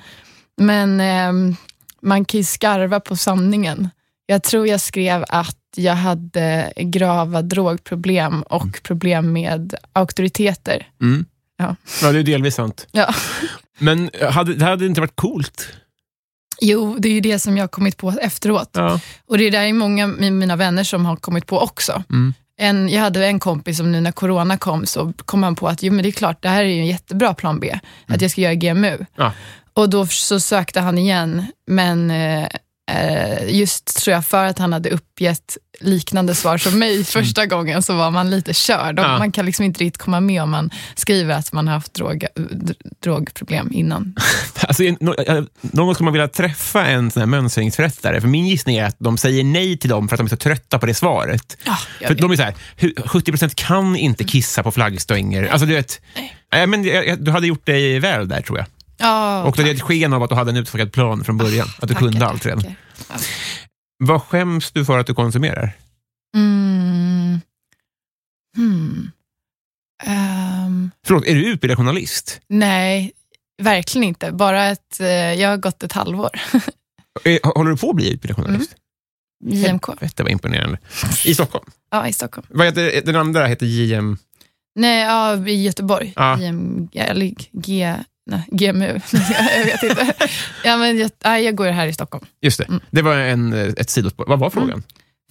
Speaker 3: Men ehm, man kan ju skarva på sanningen. Jag tror jag skrev att jag hade grava drogproblem och problem med auktoriteter.
Speaker 1: Mm. Ja, det är delvis sant.
Speaker 3: Ja.
Speaker 1: Men eh, hade, det hade inte varit coolt?
Speaker 3: Jo, det är ju det som jag har kommit på efteråt.
Speaker 1: Ja.
Speaker 3: Och det där är många av mina vänner som har kommit på också.
Speaker 1: Mm.
Speaker 3: En, jag hade en kompis som nu när corona kom så kom han på att jo, men det är klart, det här är ju en jättebra plan B, att jag ska göra GMU.
Speaker 1: Mm. Ja.
Speaker 3: Och då så sökte han igen, men eh, eh, just tror jag för att han hade uppgett liknande svar som mig första gången så var man lite körd. Och
Speaker 1: Mm. Ja.
Speaker 3: Man kan liksom inte riktigt komma med om man skriver att man har haft drog, d- drogproblem innan.
Speaker 1: Alltså, en- nå- eh, någon gång skulle man vilja träffa en sån här mönstringsförrättare, för min gissning är att de säger nej till dem för att de är så trötta på det svaret.
Speaker 3: Ja, jag
Speaker 1: för
Speaker 3: vet.
Speaker 1: de är så här, "Hu- 70 kan inte kissa på flaggstänger. Alltså, du vet, nej. men, jag- jag- du hade gjort dig väl där, tror jag.
Speaker 3: Ja,
Speaker 1: Och du hade ett sken av att du hade en utstakad plan från början, att du
Speaker 3: Ah, tackar,
Speaker 1: kunde allt redan.
Speaker 3: tackar.
Speaker 1: Vad skäms du för att du konsumerar?
Speaker 3: Mm. Hmm. Ehm,
Speaker 1: Förlåt, är du utbildad journalist?
Speaker 3: nej, verkligen inte. Bara ett, eh, jag har gått ett halvår
Speaker 1: Eh, Håller du på att bli utbildad
Speaker 3: Mm.
Speaker 1: journalist?
Speaker 3: i JMK.
Speaker 1: Helvete vad imponerande. I Stockholm?
Speaker 3: Ja, i Stockholm.
Speaker 1: Vad heter, den andra heter JM...
Speaker 3: Nej, ja, i Göteborg.
Speaker 1: Ja.
Speaker 3: JMG, eller G, nej, GMU. jag vet inte. Ja, men jag, nej, jag går här i Stockholm.
Speaker 1: Just det,
Speaker 3: Mm.
Speaker 1: det var en, eh, ett sidospår. Vad var frågan?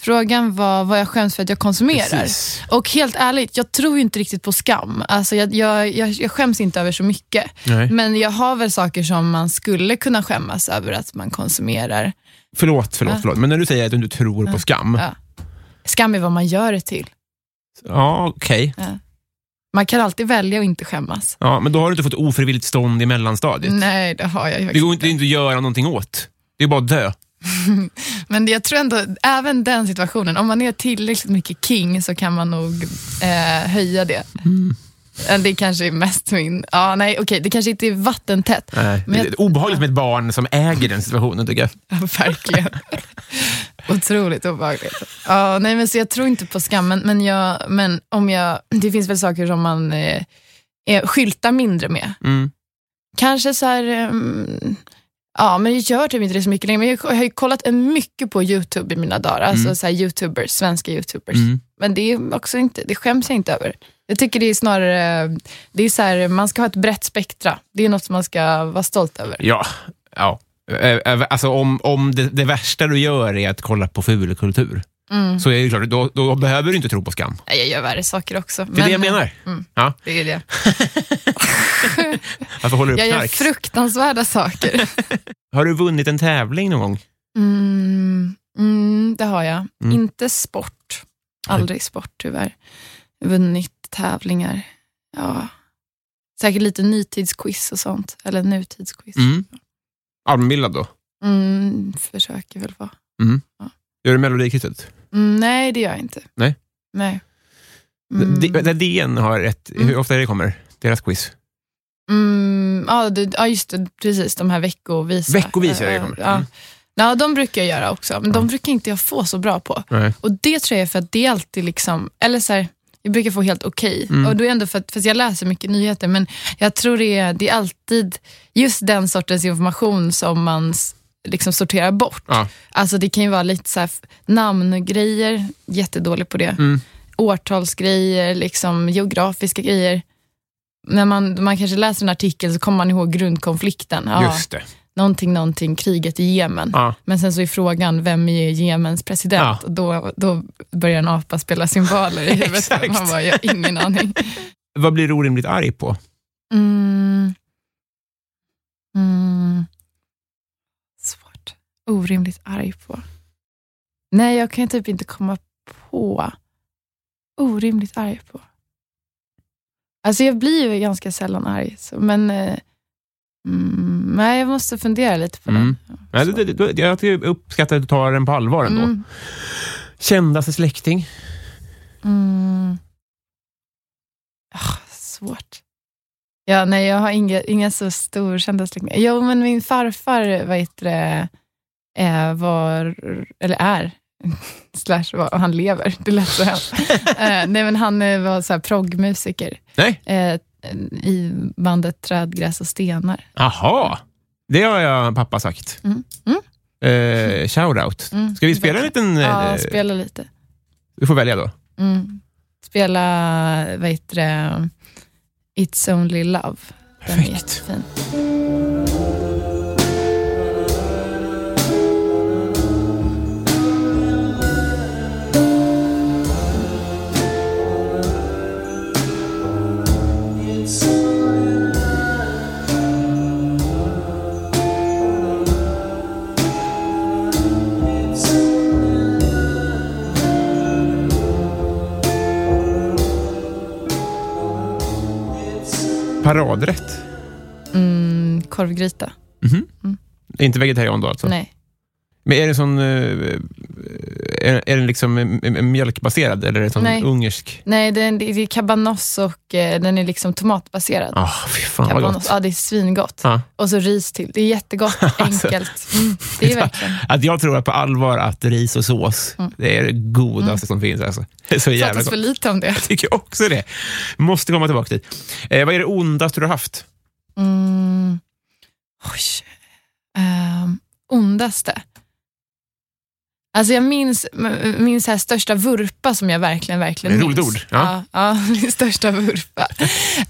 Speaker 3: Frågan var vad jag skäms för att jag konsumerar.
Speaker 1: Precis.
Speaker 3: Och helt ärligt, jag tror ju inte riktigt på skam. Alltså jag, jag, jag, jag skäms inte över så mycket.
Speaker 1: Nej.
Speaker 3: Men jag har väl saker som man skulle kunna skämmas över att man konsumerar.
Speaker 1: Förlåt, förlåt,
Speaker 3: Ja.
Speaker 1: förlåt. Men när du säger att du inte tror på skam.
Speaker 3: Ja. Skam är vad man gör det till.
Speaker 1: Ja, okej.
Speaker 3: Man kan alltid välja att inte skämmas.
Speaker 1: Ja, men då har du inte fått ofrivilligt stånd i mellanstadiet.
Speaker 3: Nej, det har jag ju
Speaker 1: Det
Speaker 3: faktiskt
Speaker 1: går inte, det är inte att göra någonting åt. Det är bara att dö.
Speaker 3: Men jag tror ändå, även den situationen, om man är tillräckligt mycket king så kan man nog eh, höja det.
Speaker 1: Mm.
Speaker 3: Eh, Det kanske är mest min... Ja, nej, okej, det kanske inte är vattentätt.
Speaker 1: Nej.
Speaker 3: Men jag-
Speaker 1: det är obehagligt med ett barn som äger den situationen, tycker jag.
Speaker 3: Verkligen. Otroligt obehagligt. Ja, nej, men så jag tror inte på skammen, men, jag, men om jag, det finns väl saker som man eh, eh, skyltar mindre med.
Speaker 1: Mm.
Speaker 3: Kanske så här, ehm, ja men jag gör typ inte det så mycket längre, men jag, har ju kollat en mycket på YouTube i mina dagar, alltså så här youtubers, svenska youtubers.
Speaker 1: Mm.
Speaker 3: Men det är också inte, det skäms jag inte över. Jag tycker det är snarare, det är så här, man ska ha ett brett spektra. Det är något som man ska vara stolt över.
Speaker 1: Ja. ja. Eh, eh, Alltså om, om det, det värsta du gör är att kolla på fulkultur,
Speaker 3: Mm.
Speaker 1: så är det ju klart, då, då behöver du inte tro på skam.
Speaker 3: Nej, Jag gör värre saker också. eh, mm.
Speaker 1: Det är det jag menar. Ja,
Speaker 3: Det är det.
Speaker 1: varför håller du
Speaker 3: Jag
Speaker 1: upp
Speaker 3: gör
Speaker 1: knark?
Speaker 3: fruktansvärda saker.
Speaker 1: Har du vunnit en tävling någon gång?
Speaker 3: Mm, mm, det har jag. Inte sport. Aldrig sport tyvärr. Vunnit tävlingar. Ja. Säkert lite nytidsquiz och sånt. Eller nutidsquiz. Mm.
Speaker 1: Mm. Allmänbildad då?
Speaker 3: försöker väl vara.
Speaker 1: Gör du Melodikrysset?
Speaker 3: Mm, nej, det gör jag inte.
Speaker 1: Nej.
Speaker 3: Nej.
Speaker 1: Mm. Där DN har ett, hur ofta är det kommer? Deras quiz.
Speaker 3: Mm, ja, det, ja, just det. Precis, de här veckovisa. eh,
Speaker 1: Veckovisa, det kommer.
Speaker 3: Ja.
Speaker 1: Mm.
Speaker 3: Ja, de brukar jag göra också, men de brukar inte jag få så bra på.
Speaker 1: Nej.
Speaker 3: Och det tror jag är för att det är alltid liksom, eller så här, jag brukar få helt okej.
Speaker 1: Mm.
Speaker 3: Och då är ändå för att, fast jag läser mycket nyheter, men jag tror det är, det är alltid just den sortens information som man s- liksom sorterar bort.
Speaker 1: Ja.
Speaker 3: Alltså det kan ju vara lite så här f- namngrejer, jättedålig på det.
Speaker 1: Mm.
Speaker 3: Årtalsgrejer, liksom geografiska grejer. När man, man kanske läser en artikel så kommer man ihåg grundkonflikten. Ja,
Speaker 1: Just det.
Speaker 3: någonting, någonting, kriget i Jemen.
Speaker 1: Ja.
Speaker 3: Men sen så är frågan, vem är Jemens president?
Speaker 1: Ja.
Speaker 3: Och då, då börjar en apa spela cymbaler i huvudet.
Speaker 1: Exakt.
Speaker 3: Man bara, jag har ingen aning.
Speaker 1: Vad blir du orimligt arg på?
Speaker 3: Mm. Mm. Svårt. Orimligt arg på. Nej, jag kan typ inte komma på. Orimligt arg på. Alltså jag blir ju ganska sällan arg, så, men eh, mm, nej, jag måste fundera lite på
Speaker 1: Mm.
Speaker 3: det.
Speaker 1: Ja, det, det, det, jag tycker- uppskattar att du tar den på allvar ändå.
Speaker 3: Mm,
Speaker 1: Kändaste släkting?
Speaker 3: mm. Ah, svårt. Ja, nej, jag har inga, inga så storkända släktingar. Jo, men min farfar vad heter det, eh, var, eller är, slash var, och han lever, det lät så hemskt. eh, nej, men han eh, var så här proggmusiker
Speaker 1: Nej.
Speaker 3: eh, i bandet Träd, gräs och stenar.
Speaker 1: Aha. Det har jag pappa sagt.
Speaker 3: Mm. Mm.
Speaker 1: Eh, Shoutout.
Speaker 3: Mm.
Speaker 1: Ska vi spela en liten... eh,
Speaker 3: Ja, spela lite.
Speaker 1: Du får välja då.
Speaker 3: Mm. Spela, vad heter det, It's Only Love. Den är
Speaker 1: Perfekt.
Speaker 3: jättefin.
Speaker 1: Paradrätt.
Speaker 3: Mm, korvgryta.
Speaker 1: Mhm. Inte vegetarian då alltså?
Speaker 3: Mm. Nej.
Speaker 1: Men är det sån... eh, Är, är den liksom eh, mjölkbaserad eller är det sån
Speaker 3: Nej.
Speaker 1: ungersk?
Speaker 3: Nej, den, det är kabanoss och eh, den är liksom tomatbaserad.
Speaker 1: Ah, fy fan vad
Speaker 3: Kabanoss,
Speaker 1: gott.
Speaker 3: Ja, det är svingott.
Speaker 1: Ja.
Speaker 3: Och så ris till. Det är jättegott,
Speaker 1: Alltså,
Speaker 3: enkelt. Mm, det är verkligen.
Speaker 1: Att jag tror på allvar att ris och sås, det är det godaste som finns. Alltså. Det är så jävla
Speaker 3: Pratas
Speaker 1: gott.
Speaker 3: Mm. för lite om det.
Speaker 1: Jag tycker också det. Måste komma tillbaka dit. Eh, vad är det ondaste du har haft?
Speaker 3: Mm. Oj. Ehm, ondaste. Alltså jag minns m- min så här största vurpa som jag verkligen, verkligen
Speaker 1: Det är
Speaker 3: minns.
Speaker 1: ett roligt ord, ja.
Speaker 3: Ja, ja, min största vurpa.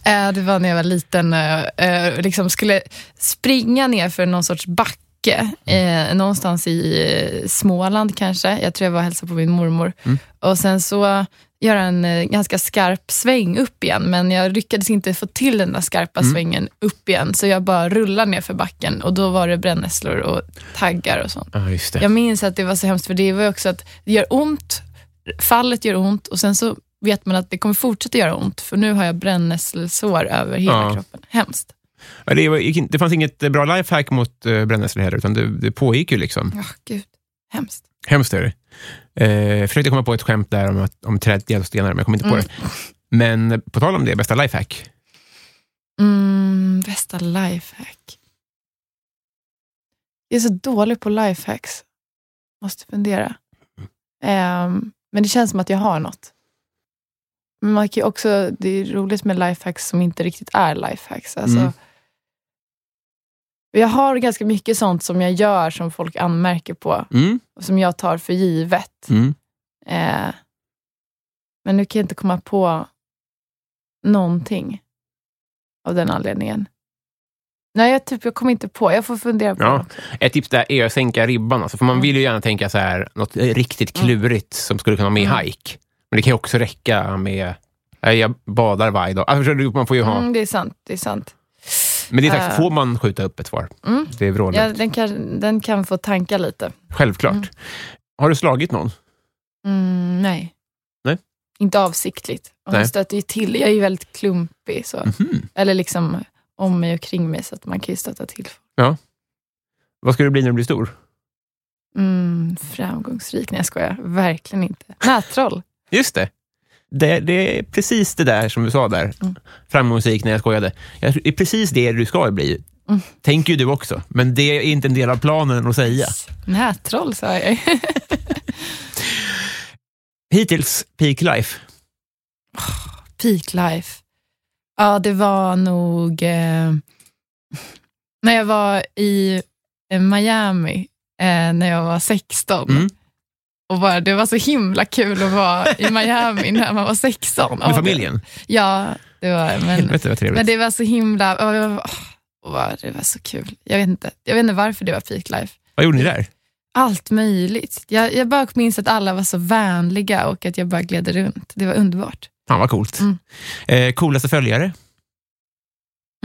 Speaker 3: Eh, det var när jag var liten, eh, eh, liksom skulle springa ner för någon sorts backe, eh, någonstans i eh, Småland kanske. Jag tror jag var och hälsade på min mormor.
Speaker 1: Mm.
Speaker 3: Och sen så göra en eh, ganska skarp sväng upp igen, men jag lyckades inte få till den där skarpa
Speaker 1: Mm.
Speaker 3: svängen upp igen, så jag bara rullade ner för backen och då var det brännässlor och taggar och sånt.
Speaker 1: Ja, just det.
Speaker 3: Jag minns att det var så hemskt, för det var ju också att det gör ont, fallet gör ont och sen så vet man att det kommer fortsätta göra ont, för nu har jag brännässlesår över hela
Speaker 1: Ja.
Speaker 3: kroppen. Hemskt.
Speaker 1: Ja, det, var, gick in- det fanns inget eh, bra lifehack mot eh, brännässlor heller, utan det, det pågick ju. liksom.
Speaker 3: Ja, gud. Hemskt.
Speaker 1: Hemskt är det. Eh, jag försökte komma på ett skämt där om, att, om träd, gräs och stenar, men jag kom inte på
Speaker 3: Mm.
Speaker 1: det. Men eh, på tal om det, bästa lifehack.
Speaker 3: Mm, bästa lifehack. Jag är så dålig på lifehacks. Måste fundera. Ehm, men det känns som att jag har något. Men man kan ju också, det är roligt med lifehacks som inte riktigt är lifehacks. Alltså,
Speaker 1: Mm.
Speaker 3: Jag har ganska mycket sånt som jag gör som folk anmärker på
Speaker 1: Mm.
Speaker 3: och som jag tar för givet.
Speaker 1: Mm.
Speaker 3: Eh, men nu kan jag inte komma på någonting av den anledningen. Nej, jag, typ, jag kommer inte på. Jag får fundera på
Speaker 1: Ja.
Speaker 3: det också.
Speaker 1: Ett tips där är att sänka ribban. Alltså, för man
Speaker 3: Mm.
Speaker 1: vill ju gärna tänka så här, något eh, riktigt klurigt som skulle kunna vara med i
Speaker 3: Mm.
Speaker 1: hike. Men det kan ju också räcka med eh, jag badar varje dag. Alltså, förstår du? man får ju ha,
Speaker 3: Mm, det är sant. Det är sant.
Speaker 1: Men det är sagt,
Speaker 3: Eh.
Speaker 1: får man skjuta upp ett svar?
Speaker 3: Mm.
Speaker 1: Det är vrålet.
Speaker 3: Ja, den, kan, den kan få tanka lite.
Speaker 1: Självklart.
Speaker 3: Mm.
Speaker 1: Har du slagit någon?
Speaker 3: Mm, nej.
Speaker 1: Nej.
Speaker 3: Inte avsiktligt. Och
Speaker 1: Nej.
Speaker 3: Jag stöter ju till. Jag är ju väldigt klumpig. Så.
Speaker 1: Mhm.
Speaker 3: Eller liksom om mig och kring mig, så att man kan ju stöta till.
Speaker 1: Vad ska du bli när du blir stor?
Speaker 3: Mm, framgångsrik? Nej, jag skojar. Verkligen inte. Nätroll.
Speaker 1: Just det. det. Det är precis det där som du sa där.
Speaker 3: Mm.
Speaker 1: Framgångsrik när jag skojade. Jag, det är precis det du ska bli.
Speaker 3: Mm.
Speaker 1: Tänker ju du också, men det är inte en del av planen att säga.
Speaker 3: Nätroll, sa jag ju.
Speaker 1: Hittills, peak life.
Speaker 3: peak life. Ja, det var nog eh, när jag var i eh, Miami eh, när jag var 16.
Speaker 1: Mm.
Speaker 3: Och bara, det var så himla kul att vara i Miami när man var 16. Ja,
Speaker 1: Med familjen.
Speaker 3: Det, ja, det var men,
Speaker 1: Helvete vad trevligt.
Speaker 3: men det var så himla... ja, det var- åh, Och var, det var så kul. Jag vet, inte, jag vet inte varför det var peak life.
Speaker 1: Vad gjorde ni där?
Speaker 3: Allt möjligt. Jag, jag bara minns att alla var så vänliga och att jag bara gled runt. Det var underbart.
Speaker 1: Fan vad coolt.
Speaker 3: Mm.
Speaker 1: Eh, coolaste följare?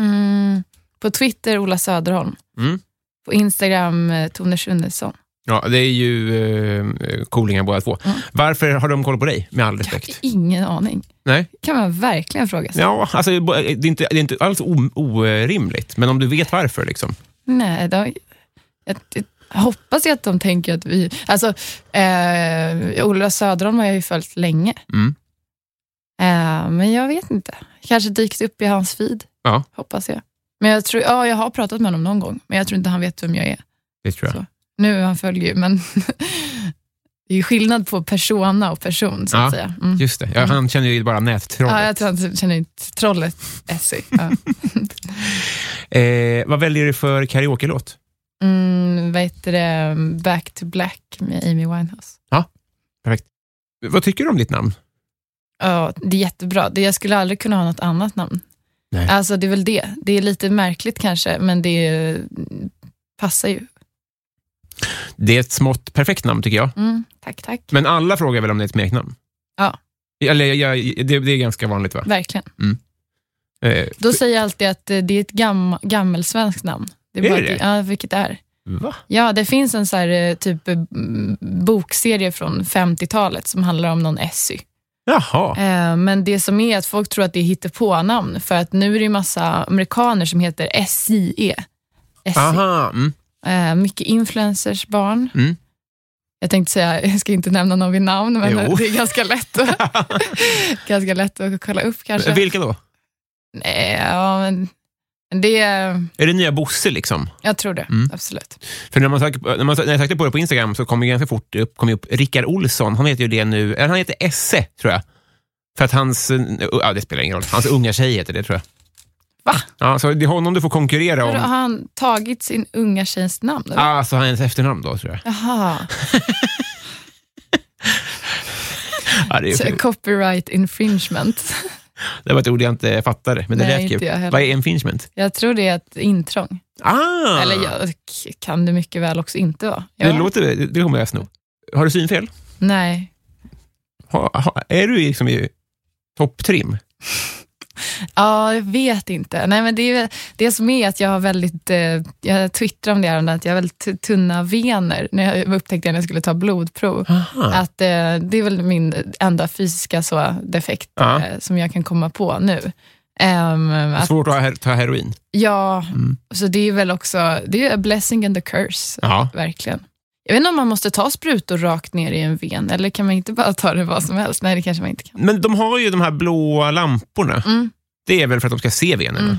Speaker 3: Mm. På Twitter, Ola Söderholm.
Speaker 1: Mm.
Speaker 3: På Instagram, eh, Tone Schunnesson.
Speaker 1: Ja, det är ju eh, coolingar båda två.
Speaker 3: Mm.
Speaker 1: Varför har de koll på dig, med all
Speaker 3: Jag har
Speaker 1: respekt?
Speaker 3: ingen aning.
Speaker 1: Nej?
Speaker 3: kan man verkligen fråga sig.
Speaker 1: Ja, alltså, det är inte, det är inte alls o- orimligt, men om du vet varför. liksom.
Speaker 3: Nej, de, jag, jag hoppas ju att de tänker att vi... Alltså, eh, Ola Söderholm har jag ju följt länge.
Speaker 1: Mm.
Speaker 3: Eh, men jag vet inte. Kanske dykt upp i hans feed.
Speaker 1: Ja.
Speaker 3: Hoppas jag. Men jag tror, ja, jag har pratat med honom någon gång, men jag tror inte han vet vem jag är.
Speaker 1: Det tror jag.
Speaker 3: Så. Nu, han följer ju, men det är ju skillnad på persona och person, så att
Speaker 1: Ja.
Speaker 3: säga. Mm.
Speaker 1: Just det. Ja, han känner ju bara nättrollet.
Speaker 3: Ja, jag tror han känner ju t- trollet Essie. Ja.
Speaker 1: eh, vad väljer du för karaoke-låt?
Speaker 3: Mm, vad heter det? Back to Black med Amy Winehouse.
Speaker 1: Vad tycker du om ditt namn?
Speaker 3: Ja, det är jättebra. Det, jag skulle aldrig kunna ha något annat namn.
Speaker 1: Nej.
Speaker 3: Alltså det är väl det. Det är lite märkligt kanske, men det eh, passar ju.
Speaker 1: Det är ett smått perfekt namn, tycker jag.
Speaker 3: Mm, tack, tack.
Speaker 1: Men alla frågar väl om det är ett smeknamn?
Speaker 3: Ja.
Speaker 1: Eller, jag, jag, det, det är ganska vanligt, va?
Speaker 3: Verkligen.
Speaker 1: Eh,
Speaker 3: Då säger jag alltid att eh, det är ett gam, gammelsvenskt namn.
Speaker 1: Är
Speaker 3: bara
Speaker 1: det
Speaker 3: att-
Speaker 1: det?
Speaker 3: Ja, vilket det är.
Speaker 1: va?
Speaker 3: Ja, det finns en så här, eh, typ eh, m- bokserie från 50-talet som handlar om någon Essy.
Speaker 1: Jaha.
Speaker 3: Eh, Men det som är att folk tror att det är hittepånamn, för att nu är det ju massa amerikaner som heter E. SIE. SIE.
Speaker 1: Aha. Mm.
Speaker 3: Eh, Mycket influencers barn.
Speaker 1: Mm.
Speaker 3: Jag tänkte säga, jag ska inte nämna någon vid namn, men
Speaker 1: Jo.
Speaker 3: det är ganska lätt, att, ganska lätt att kolla upp kanske.
Speaker 1: Vilka då?
Speaker 3: Nej, ja, men det,
Speaker 1: Är det nya Bosse, liksom?
Speaker 3: jag tror det,
Speaker 1: Mm.
Speaker 3: absolut.
Speaker 1: För när man, sök, när man sök- när jag sökte på det på Instagram så kom ju ganska fort upp, kom ju upp Rickard Olsson. Han heter ju det nu, eller han heter Esse, tror jag. För att hans, eh, ja det spelar ingen roll, hans unga tjej heter det tror jag.
Speaker 3: Va?
Speaker 1: Ja, så det är honom du får konkurrera om.
Speaker 3: Har han tagit sin unga tjejs namn? eller?
Speaker 1: Alltså hans efternamn då, tror jag.
Speaker 3: Jaha,
Speaker 1: Ja, det,
Speaker 3: så
Speaker 1: är,
Speaker 3: copyright infringement.
Speaker 1: det var ett ord jag inte fattade, men det
Speaker 3: Nej,
Speaker 1: lät
Speaker 3: inte jag
Speaker 1: kul.
Speaker 3: heller.
Speaker 1: Vad är infringement?
Speaker 3: Jag tror det är ett intrång.
Speaker 1: Ah!
Speaker 3: Eller jag, kan det mycket väl också inte vara. Ja.
Speaker 1: Det låter, det- det kommer jag sno. Har du synfel?
Speaker 3: Nej.
Speaker 1: Ha, ha, är du liksom i topptrim?
Speaker 3: Ja, jag vet inte. Nej, men det, är, väl- det som är att jag har väldigt, eh, jag twittrade om det här, om det, att jag har väldigt tu- tunna vener, när jag upptäckte det när jag skulle ta blodprov.
Speaker 1: Aha.
Speaker 3: Att, eh, det är väl min enda fysiska så, defekt
Speaker 1: Ja.
Speaker 3: eh, som jag kan komma på nu. Ehm, att,
Speaker 1: Svårt att ha her- ta heroin.
Speaker 3: ja,
Speaker 1: Mm.
Speaker 3: så det är väl också, det är a blessing and a curse,
Speaker 1: Ja.
Speaker 3: verkligen. Jag vet inte om man måste ta sprutor rakt ner i en ven, eller kan man inte bara ta det vad som helst? Nej, det kanske man inte kan.
Speaker 1: Men de har ju de här blåa lamporna.
Speaker 3: Mm.
Speaker 1: Det är väl för att de ska se venerna?
Speaker 3: Mm.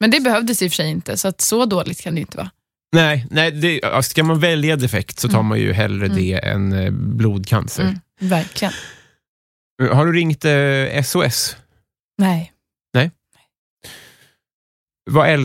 Speaker 3: Men det behövdes i och för sig inte, så att så dåligt kan det ju inte vara.
Speaker 1: Nej, nej det, ja, ska man välja defekt så tar
Speaker 3: Mm.
Speaker 1: man ju hellre
Speaker 3: Mm.
Speaker 1: det än eh, blodcancer.
Speaker 3: Mm, verkligen. Mm.
Speaker 1: Har du ringt eh, SOS?
Speaker 3: Nej.
Speaker 1: Vad äl-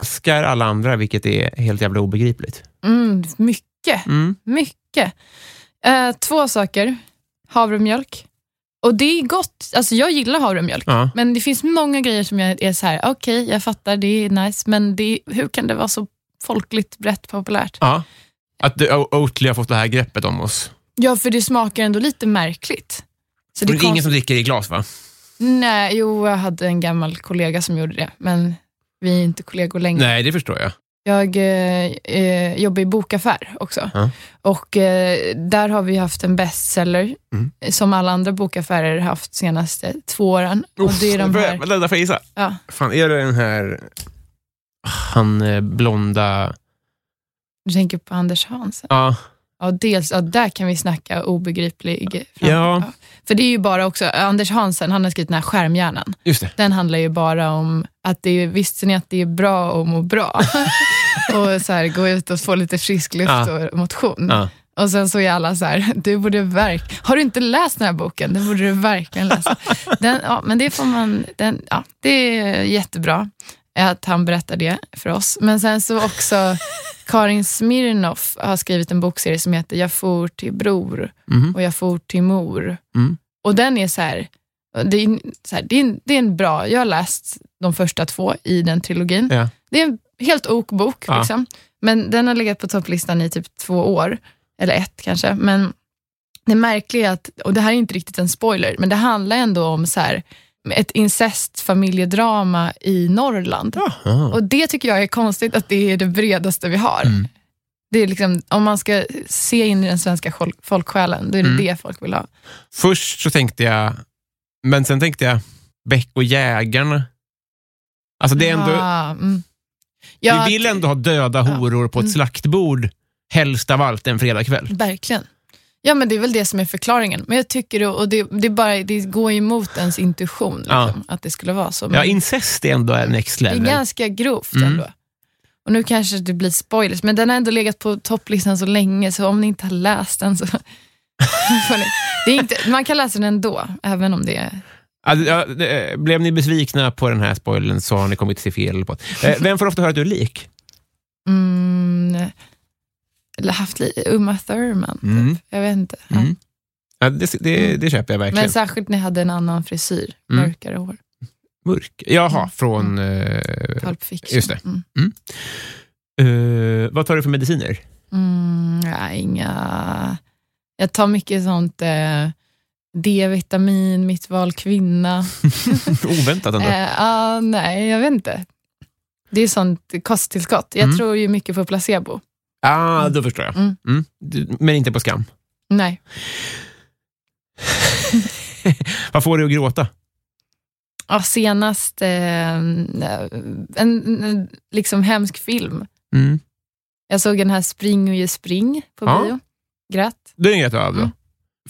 Speaker 1: älskar alla andra, vilket är helt jävla obegripligt?
Speaker 3: Mm,
Speaker 1: Mm.
Speaker 3: mycket, mycket. Eh, två saker. Havremjölk. Och det är gott. Alltså jag gillar havremjölk,
Speaker 1: Ja.
Speaker 3: men det finns många grejer som jag är så här, okej, jag fattar, det är nice, men det, hur kan det vara så folkligt brett populärt?
Speaker 1: Ja. Att det- O- Oatly har fått det här greppet om oss.
Speaker 3: Ja, för det smakar ändå lite märkligt. Så
Speaker 1: Men det är ingen
Speaker 3: konst-
Speaker 1: som dricker i glas,
Speaker 3: Mm.
Speaker 1: va?
Speaker 3: Nej, jo, jag hade en gammal kollega som gjorde det, men vi är inte kollegor längre.
Speaker 1: Nej, det förstår jag.
Speaker 3: Jag eh, eh, jobbar i bokaffär också.
Speaker 1: Ja.
Speaker 3: Och eh, där har vi haft en bestseller,
Speaker 1: Mm.
Speaker 3: eh, som alla andra bokaffärer har haft senaste två åren. och det är de här,
Speaker 1: Vänta, får jag gissa?
Speaker 3: ja.
Speaker 1: Fan, är det den här... Han eh, blonda...
Speaker 3: Du tänker på Anders Hansen.
Speaker 1: Ja.
Speaker 3: Ja, dels, ja, där kan vi snacka obegriplig. fram-
Speaker 1: Ja.
Speaker 3: För det är ju bara också, Anders Hansen, han har skrivit den här skärmhjärnan.
Speaker 1: Just det.
Speaker 3: Den handlar ju bara om att det är, visste ni att det är bra att må bra? och så här, gå ut och få lite frisk luft
Speaker 1: Ja.
Speaker 3: och motion.
Speaker 1: Ja.
Speaker 3: Och sen så är alla så här, du borde verk har du inte läst den här boken? Den borde du verkligen läsa. Den, ja, men det får man, den, ja, det är jättebra att han berättar det för oss. Men sen så också Karin Smirnoff har skrivit en bokserie som heter Jag for till bror
Speaker 1: Mhm.
Speaker 3: och Jag for till mor.
Speaker 1: Mm.
Speaker 3: Och den är så här, det är, en- så här det, är en, det är en bra, jag har läst de första två i den trilogin.
Speaker 1: Ja.
Speaker 3: Det är en helt ok bok,
Speaker 1: Ja.
Speaker 3: liksom. men den har legat på topplistan i typ två år, eller ett kanske. Men det märkliga är att, och det här är inte riktigt en spoiler, men det handlar ändå om så här, ett incestfamiljedrama i Norrland.
Speaker 1: Jaha.
Speaker 3: Och det tycker jag är konstigt att det är det bredaste vi har.
Speaker 1: Mm.
Speaker 3: Det är liksom, om man ska se in i den svenska folk- folksjälen, då är det
Speaker 1: Mm.
Speaker 3: det folk vill ha.
Speaker 1: Först så tänkte jag... Men sen tänkte jag Beck och jägarna. Alltså, det är ändå...
Speaker 3: Ah, mm. Ja,
Speaker 1: Vi vill ändå ha döda
Speaker 3: Ja.
Speaker 1: horor på ett
Speaker 3: Mm.
Speaker 1: slaktbord, helst av allt en fredagkväll.
Speaker 3: Verkligen. Ja, men det är väl det som är förklaringen. Men jag tycker, och det, det, är bara, det går ju emot ens intuition, liksom, att det skulle vara så. Men
Speaker 1: Ja, incest är ändå next
Speaker 3: det är
Speaker 1: level.
Speaker 3: ganska grovt
Speaker 1: Mm.
Speaker 3: ändå. Och nu kanske det blir spoilers, men den har ändå legat på topplistan så länge, så om ni inte har läst den så... får ni- det är inte, man kan läsa den ändå, även om det är...
Speaker 1: Alltså, ja, det, eh, blev ni besvikna på den här spoilern så har ni kommit till fel podd. Eh, Vem får ofta höra att du är lik?
Speaker 3: Mm, eller haft li- Uma Thurman, typ.
Speaker 1: Mm.
Speaker 3: jag vet inte. Ja.
Speaker 1: Mm. Ja, det, det, det köper jag verkligen.
Speaker 3: Mm. Men särskilt när jag hade en annan frisyr,
Speaker 1: Mm.
Speaker 3: mörkare hår.
Speaker 1: Mörk.
Speaker 3: Mm.
Speaker 1: Jaha, från... eh,
Speaker 3: Pulp Fiction.
Speaker 1: just det.
Speaker 3: Mm.
Speaker 1: eh, vad tar du för mediciner?
Speaker 3: Mm, nej, inga... Jag tar mycket sånt eh, D-vitamin, mitt val kvinna.
Speaker 1: Oväntat ändå.
Speaker 3: Eh, ah, nej, jag vet inte. Det är sånt kosttillskott. Jag
Speaker 1: Mm.
Speaker 3: tror ju mycket på placebo.
Speaker 1: ah, då förstår jag.
Speaker 3: Mm.
Speaker 1: Mm. Du- Men inte på skam.
Speaker 3: Nej.
Speaker 1: Vad får du att gråta?
Speaker 3: Ja, senast eh, en, en, en liksom hemsk film.
Speaker 1: Mm.
Speaker 3: Jag såg den här Spring och ge spring på
Speaker 1: Ja.
Speaker 3: bio. Grät.
Speaker 1: Det är inget av då.
Speaker 3: Mm.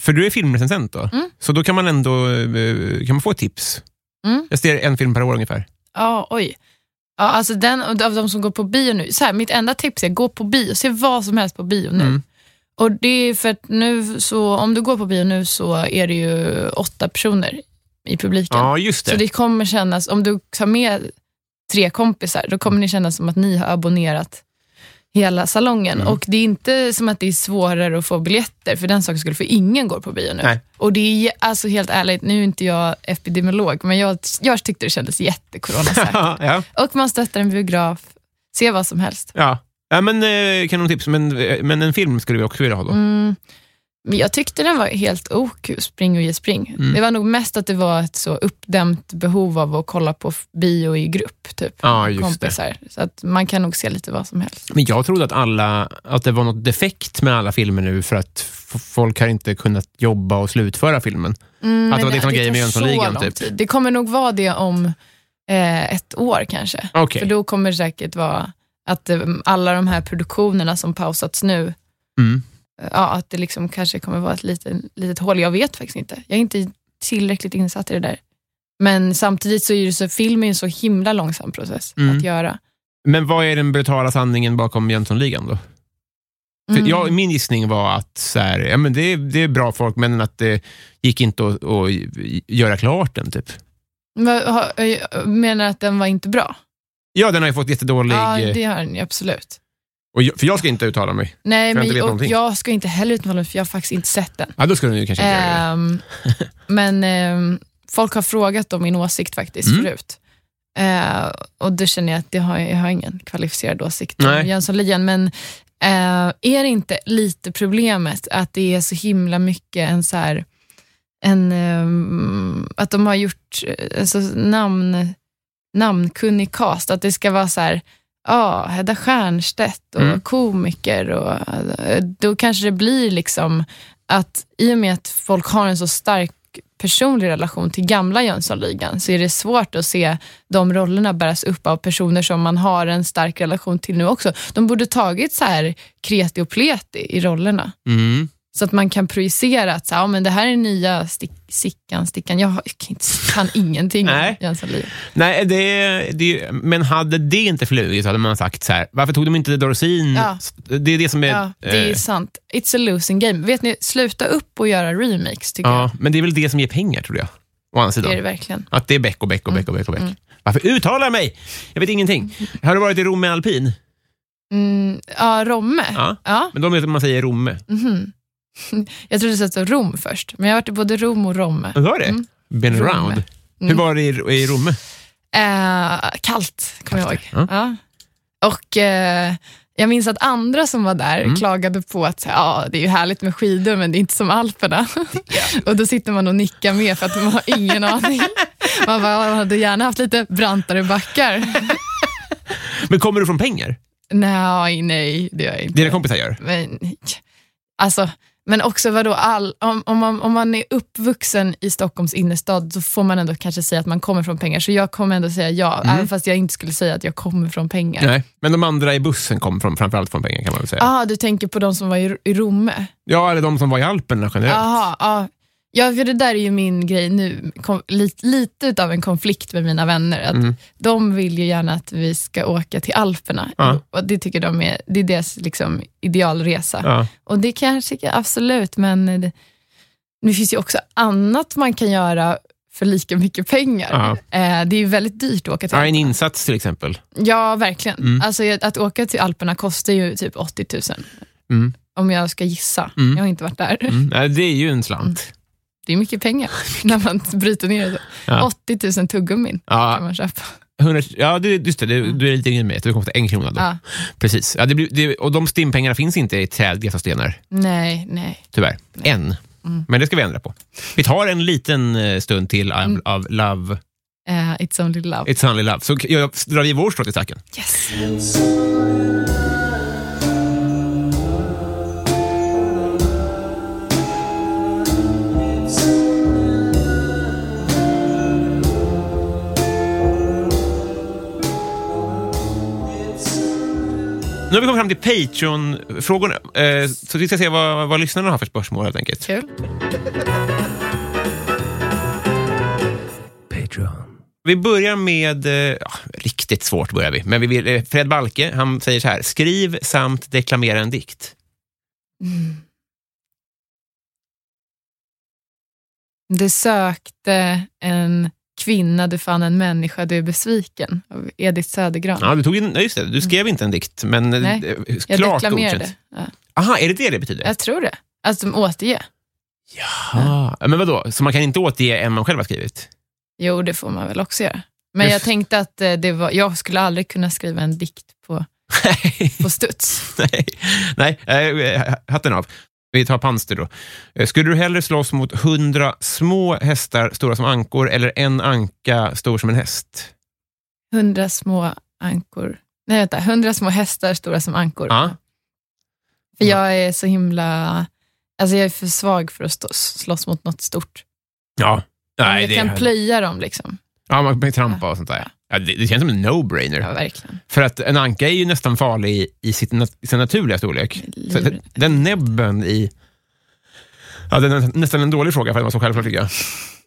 Speaker 1: För du är filmrecensent då,
Speaker 3: Mm.
Speaker 1: så då kan man ändå eh, kan man få tips.
Speaker 3: Mm.
Speaker 1: Jag ser en film per år ungefär.
Speaker 3: Ja, oj. Ja, alltså den, av de som går på bio nu, så här, mitt enda tips är gå på bio, se vad som helst på bio nu.
Speaker 1: Mm.
Speaker 3: Och det är för att nu, så, om du går på bio nu så är det ju åtta personer i publiken.
Speaker 1: Ja, just
Speaker 3: så
Speaker 1: det.
Speaker 3: det kommer kännas, om du tar med tre kompisar, då kommer det kännas som att ni har abonnerat hela salongen.
Speaker 1: Mm.
Speaker 3: Och det är inte som att det är svårare att få biljetter, för den saken skulle för ingen går på bio nu.
Speaker 1: Nej.
Speaker 3: Och det är alltså helt ärligt, nu är inte jag epidemiolog, men jag, jag tyckte det kändes jättecorona. så här.
Speaker 1: ja.
Speaker 3: Och man stöttar en biograf, se vad som helst.
Speaker 1: Ja. ja, men eh, kanon tips. Men, eh, men en film skulle vi också vilja ha då.
Speaker 3: Mm. Men jag tyckte den var helt ok, Spring och ge spring.
Speaker 1: Mm.
Speaker 3: Det var nog mest att det var ett så uppdämt behov av att kolla på f- bio i grupp, typ.
Speaker 1: Ja, just det.
Speaker 3: Kompisar. Så att man kan nog se lite vad som helst.
Speaker 1: Men jag trodde att, alla, att det var något defekt med alla filmer nu för att f- folk har inte kunnat jobba och slutföra filmen.
Speaker 3: Mm,
Speaker 1: Att det var
Speaker 3: men
Speaker 1: det som var grejen med
Speaker 3: tar
Speaker 1: Jönssonligan,
Speaker 3: så lång
Speaker 1: typ.
Speaker 3: tid. Det kommer nog vara det om eh, ett år kanske.
Speaker 1: Okej.
Speaker 3: För då kommer det säkert vara att eh, alla de här produktionerna som pausats nu,
Speaker 1: Mm.
Speaker 3: eh, ja, att det liksom kanske kommer vara ett litet, litet hål. Jag vet faktiskt inte. Jag är inte tillräckligt insatt i det där. Men samtidigt så är ju så, film är ju en så himla långsam process
Speaker 1: Mm.
Speaker 3: att göra.
Speaker 1: Men vad är den brutala sanningen bakom Jönssonligan då? För
Speaker 3: Mm.
Speaker 1: jag, min gissning var att så här, ja, men det, är- det är bra folk, men att det gick inte att, att göra klart den. typ.
Speaker 3: Vad- har- eh, Menar att den var inte bra?
Speaker 1: Ja, den har ju fått jättedålig...
Speaker 3: Ja,
Speaker 1: eh,
Speaker 3: det har den ju absolut.
Speaker 1: Och jag, för jag ska inte uttala mig.
Speaker 3: Nej,
Speaker 1: För jag inte
Speaker 3: men
Speaker 1: vet
Speaker 3: jag,
Speaker 1: någonting.
Speaker 3: jag ska inte heller uttala mig, för jag har faktiskt inte sett den.
Speaker 1: Ja, då skulle du ju kanske inte göra det.
Speaker 3: Ehm, men ehm, folk har frågat om min åsikt faktiskt
Speaker 1: Mm.
Speaker 3: förut. Eh, och då känner jag att jag har, jag har ingen kvalificerad åsikt om
Speaker 1: Nej.
Speaker 3: Jönssonligan. Men eh, är det inte lite problemet att det är så himla mycket en så här, en, ehm, att de har gjort eh, alltså, namn, namnkunnig cast, att det ska vara så här, ja, Hedda Stiernstedt och
Speaker 1: Mm.
Speaker 3: komiker. Och, eh, då kanske det blir liksom att i och med att folk har en så stark personlig relation till gamla Jönssonligan, så är det svårt att se de rollerna bäras upp av personer som man har en stark relation till nu också. De borde tagit så här kreti och pleti i rollerna.
Speaker 1: Mm.
Speaker 3: Så att man kan projicera att så här, ja, men det här är nya stick, Sickan, Stickan. Jag har- jag kan inte- kan ingenting om
Speaker 1: Nej.
Speaker 3: Jönssonligan.
Speaker 1: Nej, det, det, men hade det inte flugit så hade man sagt så här, varför tog de inte Dorsin?
Speaker 3: Ja.
Speaker 1: Det är det som är...
Speaker 3: Ja, det är
Speaker 1: eh,
Speaker 3: sant. It's a losing game. Vet ni, sluta upp och göra remakes tycker
Speaker 1: ja, men det är väl det som ger pengar, tror jag. Å andra
Speaker 3: jag.
Speaker 1: sidan.
Speaker 3: Det är det verkligen. Mm.
Speaker 1: Att det är bäck och bäck och bäck och bäck. Och bäck. Varför uttalar jag mig? Jag vet ingenting. Har du varit i Romme alpin?
Speaker 3: Mm, ja, Romme.
Speaker 1: Ja.
Speaker 3: Ja.
Speaker 1: Men de vet att man säger Romme.
Speaker 3: mhm. Jag trodde det stod Rom först, men jag har varit i både Rom och Romme.
Speaker 1: Hur var det?
Speaker 3: Mm.
Speaker 1: Been
Speaker 3: Romme.
Speaker 1: around. Hur
Speaker 3: Mm.
Speaker 1: var det i, i Romme?
Speaker 3: Eh, kallt, kommer jag ihåg.
Speaker 1: Kallt, ja.
Speaker 3: Ja. Och eh, jag minns att andra som var där
Speaker 1: Mm.
Speaker 3: klagade på att så här, ja det är ju härligt med skidor, men det är inte som Alperna. och då sitter man och nickar med för att man har ingen aning. Man bara, "Ja, man hade gärna haft lite brantare backar.
Speaker 1: Men kommer du från pengar?
Speaker 3: nej, nej, det gör jag inte.
Speaker 1: Dina kompisar gör?
Speaker 3: Men, alltså, men också vadå, all, om, om, man, om man är uppvuxen i Stockholms innerstad så får man ändå kanske säga att man kommer från pengar. Så jag kommer ändå säga ja,
Speaker 1: Mm.
Speaker 3: även fast jag inte skulle säga att jag kommer från pengar.
Speaker 1: Nej. Men de andra i bussen kom från, framförallt från pengar kan man väl säga?
Speaker 3: Ah, du tänker på de som var i, i Romme?
Speaker 1: Ja, eller de som var i Alperna generellt.
Speaker 3: Jaha, ja. Ja, för det där är ju min grej nu. Kom, lite, lite utav en konflikt med mina vänner. Att
Speaker 1: Mm.
Speaker 3: De vill ju gärna att vi ska åka till Alperna.
Speaker 1: Ja.
Speaker 3: Och det tycker de är, det är deras liksom, idealresa.
Speaker 1: Ja.
Speaker 3: Och det kan jag tycka, absolut, men det, det finns ju också annat man kan göra för lika mycket pengar. Eh, det är ju väldigt dyrt att åka till
Speaker 1: Ja, Mm. en
Speaker 3: Alperna.
Speaker 1: insats till exempel.
Speaker 3: Ja, verkligen. Alltså, jag- att åka till Alperna kostar ju typ 80 000.
Speaker 1: Mm.
Speaker 3: Om jag ska gissa. Jag har inte varit där.
Speaker 1: Mm. Nej, det är ju en slant.
Speaker 3: Det är mycket pengar när man bryter ner det.
Speaker 1: Ja.
Speaker 3: 80 000 tuggummin
Speaker 1: Ja.
Speaker 3: kan man köpa.
Speaker 1: 100, ja, det, just det. Du, du är lite yngre med. Du kommer till en krona då.
Speaker 3: Mm. Ja.
Speaker 1: Precis. Ja, det blir, det, och de stimpengarna finns inte i träd, gräs och stenar,
Speaker 3: Nej, nej. Mm.
Speaker 1: tyvärr. Än. Men det ska vi ändra på. Vi tar en liten eh, stund till av,
Speaker 3: Mm.
Speaker 1: av Love,
Speaker 3: Eh, it's only love.
Speaker 1: It's Only Love, så k- ja, drar vi vår strå till stacken.
Speaker 3: yes.
Speaker 1: Nu har vi kommit fram till Patreon-frågorna. Eh, så vi ska se vad, vad lyssnarna har för spörsmål helt enkelt.
Speaker 3: Kul.
Speaker 1: Vi börjar med, eh, ja, riktigt svårt börjar vi, men vi vill, eh, Fred Balke, han säger så här, skriv samt deklamera en dikt.
Speaker 3: Du sökte en kvinna, du fann en människa, du är besviken. Av Edith Södergran.
Speaker 1: Ja, du tog in, ja, just det, du skrev inte en dikt, men
Speaker 3: Mm. Nej,
Speaker 1: Nej,
Speaker 3: jag
Speaker 1: klart
Speaker 3: deklamerade.
Speaker 1: godkänt.
Speaker 3: Ja,
Speaker 1: Aha, är det det det betyder?
Speaker 3: jag tror det. Att de återge.
Speaker 1: Ah, men vadå, så man kan inte återge en man själv har skrivit?
Speaker 3: Jo, det får man väl också göra. Men jag tänkte att eh, det var, jag skulle aldrig kunna skriva en dikt på, på studs.
Speaker 1: Nej, nej eh, hatten av. Vi tar Panster då. Eh, Skulle du hellre slåss mot hundra små hästar stora som ankor eller en anka stor som en häst?
Speaker 3: Hundra små ankor. Nej, vänta. Hundra små hästar stora som ankor.
Speaker 1: Ja.
Speaker 3: För jag är så himla... Alltså jag är för svag för att stå, slåss mot något stort.
Speaker 1: Ja. Nej,
Speaker 3: jag
Speaker 1: det
Speaker 3: kan plöja dem liksom.
Speaker 1: ja, man kan ju trampa och sånt där. Ja, det, det känns som en
Speaker 3: Ja,
Speaker 1: no-brainer.
Speaker 3: verkligen.
Speaker 1: För att en anka är ju nästan farlig i, i, sitt, nat- i sin naturliga storlek. Så
Speaker 3: Livrädd.
Speaker 1: den, den näbben i... Ja, det är nä- nästan en dålig fråga för att vara så självklart tycker jag.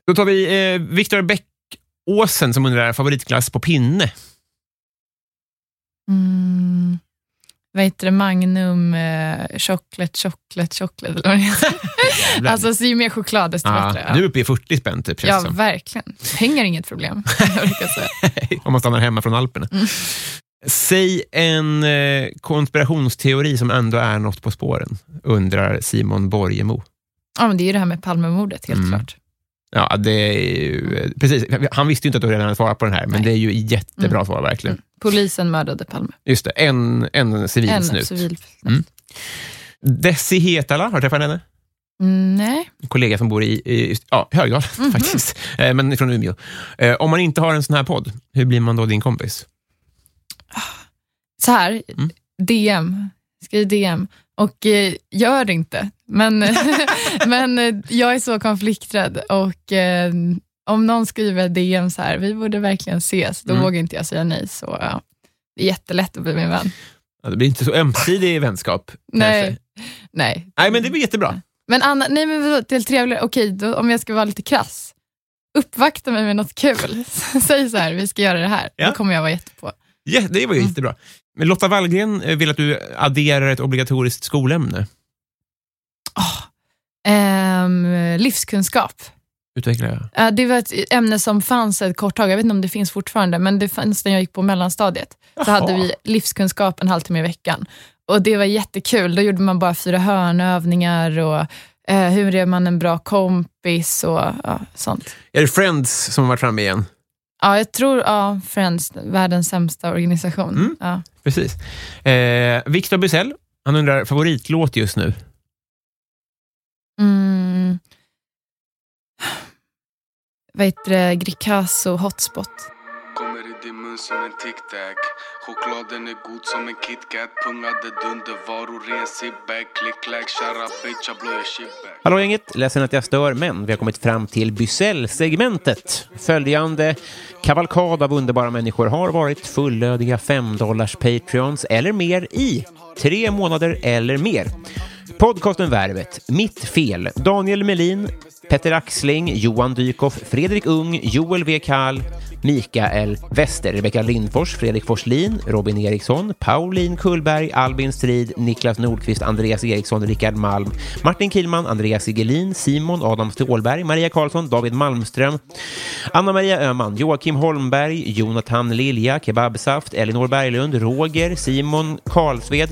Speaker 1: Då tar vi eh, Viktor Bäckåsen som undrar favoritglass på pinne.
Speaker 3: Mm. Vad heter det? Magnum eh, chocolate, chocolate, chocolate. Eller vad det heter.
Speaker 1: Jävlar.
Speaker 3: alltså, så ju mer choklad, desto
Speaker 1: Ja,
Speaker 3: bättre. Ja.
Speaker 1: Du Ah, är uppe i 40 spänn typ, känns
Speaker 3: Ja,
Speaker 1: det som.
Speaker 3: verkligen. Pengar är inget problem. kan jag brukar säga. Mm.
Speaker 1: om man stannar hemma från Alperna.
Speaker 4: Säg en eh, konspirationsteori som ändå är något på spåren, undrar Simon Borgemo.
Speaker 3: Ja, men det är ju det här med Palmemordet, helt
Speaker 4: Mm.
Speaker 3: klart.
Speaker 4: Ja, det är ju, precis. Han visste ju inte att du redan hade svarat på den här,
Speaker 3: Nej.
Speaker 4: men det är ju jättebra svar verkligen.
Speaker 3: Mm. Polisen mördade Palme.
Speaker 4: Just det, en, en civil
Speaker 3: En
Speaker 4: snut.
Speaker 3: civil...
Speaker 4: Mm. Desi Hetala, har du träffat henne?
Speaker 3: Mm, Nej.
Speaker 4: En kollega som bor i, i just- ja, Högdalen faktiskt, eh, men från Umeå. Eh, om man inte har en sån här podd, hur blir man då din kompis?
Speaker 3: Så här,
Speaker 4: Mm.
Speaker 3: DM. Skriv DM. Och eh, gör det inte. Men, men eh, jag är så konflikträdd och eh, om någon skriver DM så här, vi borde verkligen ses, då
Speaker 4: Mm.
Speaker 3: vågar inte jag säga nej. Så ja. Det är jättelätt att bli min vän.
Speaker 4: Ja, det blir inte så ömsesidig vänskap.
Speaker 3: Nej,
Speaker 4: kanske.
Speaker 3: nej.
Speaker 4: Nej, men det blir jättebra.
Speaker 3: Men Anna, nej men vadå, till trevligare, okej då, om jag ska vara lite krass, uppvakta mig med något kul. Säg så här, vi ska göra det här,
Speaker 4: Ja.
Speaker 3: då kommer jag vara jättepå.
Speaker 4: Ja, det var ju
Speaker 3: Mm.
Speaker 4: jättebra. Men Lotta Wallgren eh, vill att du adderar ett obligatoriskt skolämne.
Speaker 3: Ehm, livskunskap.
Speaker 4: Utveckla. det.
Speaker 3: Eh, det var ett ämne som fanns ett kort tag, jag vet inte om det finns fortfarande, men det fanns när jag gick på mellanstadiet. Så
Speaker 4: Jaha.
Speaker 3: hade vi livskunskap en halvtimme i veckan. Och det var jättekul, då gjorde man bara fyra hörnövningar och eh, hur är man en bra kompis och ja, sånt.
Speaker 4: Är det Friends som har varit framme igen?
Speaker 3: Ja, jag tror ja, Friends, världens sämsta organisation.
Speaker 4: Mm.
Speaker 3: Ja.
Speaker 4: Precis. Eh, Victor Bysell, han undrar favoritlåt just nu.
Speaker 3: Mm. Vad heter det? Gricasso Hotspot.
Speaker 5: Kommer i din mun som en tic-tac Chokladen är god som en KitKat Pungade dundervaror, ren zip-back Klick-klack, tjara bitch, jag blöjer shit-back
Speaker 1: Hallå gänget, ledsen att jag stör, men vi har kommit fram till Bysell-segmentet. Följande kavalkad av underbara människor har varit fullödiga 5 Patreons eller mer i tre månader eller mer. Podcasten Värvet, Mitt Fel, Daniel Melin, Petter Axling, Johan Dykhoff, Fredrik Ung, Joel W. Kall, Mikael Wester, Rebecka Lindfors, Fredrik Forslin, Robin Eriksson, Pauline Kullberg, Albin Strid, Niklas Nordqvist, Andreas Eriksson, Rickard Malm, Martin Kilman, Andreas Sigelin, Simon Adam Ståhlberg, Maria Karlsson, David Malmström, Anna-Maria Öhman, Joakim Holmberg, Jonathan Lilja, Kebabsaft, Elinor Berglund, Roger, Simon Karlsved,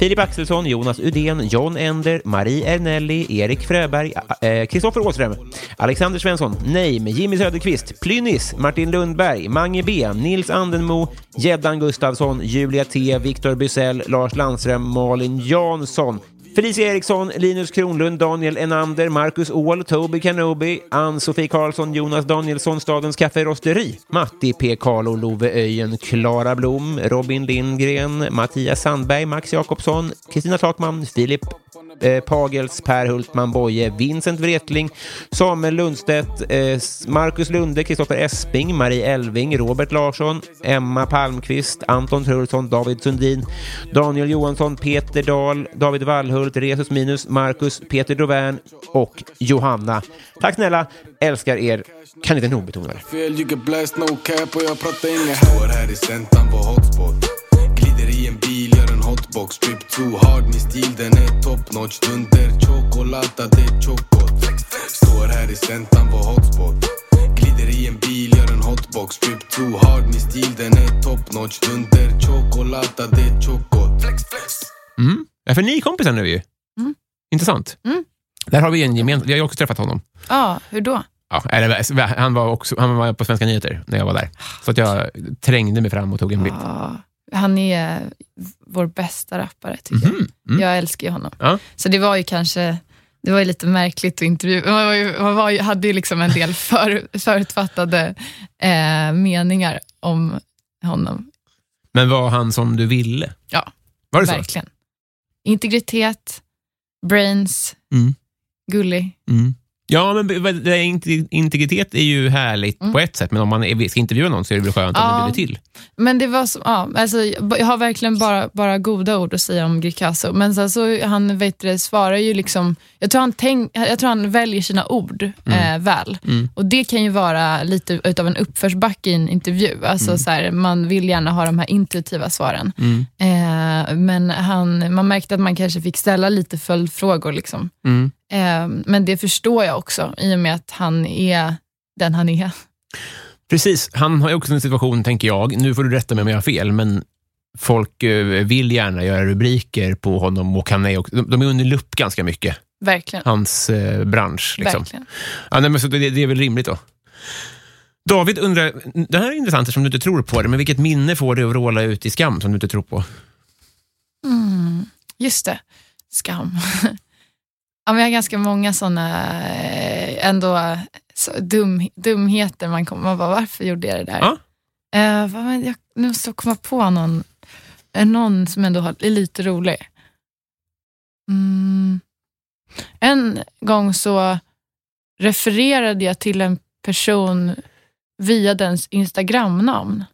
Speaker 1: Filip Axelsson, Jonas Udén, John Ender, Marie Ernelli, Erik Fröberg, eh, Kristoffer Åström, Alexander Svensson, Neim, Jimmy Söderqvist, Plynnis, Martin Lundberg, Mange B, Nils Andenmo, Gäddan Gustafsson, Julia T, Viktor Bysell, Lars Landström, Malin Jansson, Felicia Eriksson, Linus Kronlund, Daniel Enander, Marcus Åhl, Toby Kenobi, Ann-Sofie Karlsson, Jonas Danielsson, Stadens Kafferosteri, Matti P. Carlo, Love Öjen, Klara Blom, Robin Lindgren, Mattias Sandberg, Max Jakobsson, Kristina Takman, Filip Eh, Pagels, Per Hultman Boye, Vincent Wretling, Samuel Lundstedt, eh, Marcus Lunde, Kristoffer Esping, Marie Elving, Robert Larsson, Emma Palmqvist, Anton Trulsson, David Sundin, Daniel Johansson, Peter Dahl, David Wallhult, Resus Minus, Marcus, Peter Dovern och Johanna. Tack snälla, älskar er. Kan inte nog betona det.
Speaker 5: Fel, you get blessed, no cap och jag pratar inget Står här i centan på hotspot Glider i en bil, gör en hotbox Drip too hard, min stil den är top notch Dunder chocolata, det är chokot Står här i centan på hotspot Glider i en bil, gör en hotbox Drip too hard, min stil den är top notch Dunder chocolata, det är chokot
Speaker 4: Mm. Ja, för ni är kompisar nu ju. Intressant.
Speaker 3: Mm.
Speaker 4: Där har vi en gemensam... Jag har också träffat honom.
Speaker 3: Ja, hur då?
Speaker 4: Ja, eller, han, var också, han var på Svenska nyheter när jag var där. Så att jag trängde mig fram och tog en bild.
Speaker 3: Ja, han är vår bästa rappare, tycker
Speaker 4: Mhm.
Speaker 3: jag.
Speaker 4: Mm.
Speaker 3: Jag älskar ju honom.
Speaker 4: Ja.
Speaker 3: Så det var ju kanske det var ju lite märkligt att intervjua. Man, var ju, man var ju, hade ju liksom en del för, förutfattade eh, meningar om honom.
Speaker 4: Men var han som du ville?
Speaker 3: Ja,
Speaker 4: Var det så?
Speaker 3: Verkligen. Integritet, brains,
Speaker 4: Mm.
Speaker 3: gullig.
Speaker 4: Mm. Ja, men be- det är inte- integritet är ju härligt på ett sätt, men om man är- ska intervjua någon så är det väl skönt om
Speaker 3: Ja.
Speaker 4: det blir till.
Speaker 3: Men det var som, ja, alltså, jag har verkligen bara, bara goda ord att säga om Gricasso. Men sen så, han vet du, det, svarar ju liksom, jag tror han, tänk, jag tror han väljer sina ord eh, väl. Och det kan ju vara lite utav en uppförsbacke i en intervju. Alltså, så här, man vill gärna ha de här intuitiva svaren. Eh, men han, man märkte att man kanske fick ställa lite följdfrågor. Liksom. Eh, men det förstår jag också, i och med att han är den han är.
Speaker 4: Precis, han har ju också en situation, tänker jag, nu får du rätta mig om jag har fel, men folk eh, vill gärna göra rubriker på honom och han är också, de, de är under lupp ganska mycket,
Speaker 3: Verkligen.
Speaker 4: hans eh, bransch. Liksom.
Speaker 3: Verkligen.
Speaker 4: Ja, nej, men så det, det är väl rimligt då. David undrar, det här är intressant eftersom du inte tror på det, men vilket minne får du att vråla ut i skam som du inte tror på?
Speaker 3: Just det, skam. ja, men jag har ganska många sådana ändå eh, så dum, dumheter man kommer man bara, varför gjorde jag det där?
Speaker 4: Ja.
Speaker 3: Eh, vad var det? jag, nu måste jag komma på någon, eh, någon som ändå har- är lite rolig. Mm. En gång så refererade jag till en person via dens Instagram-namn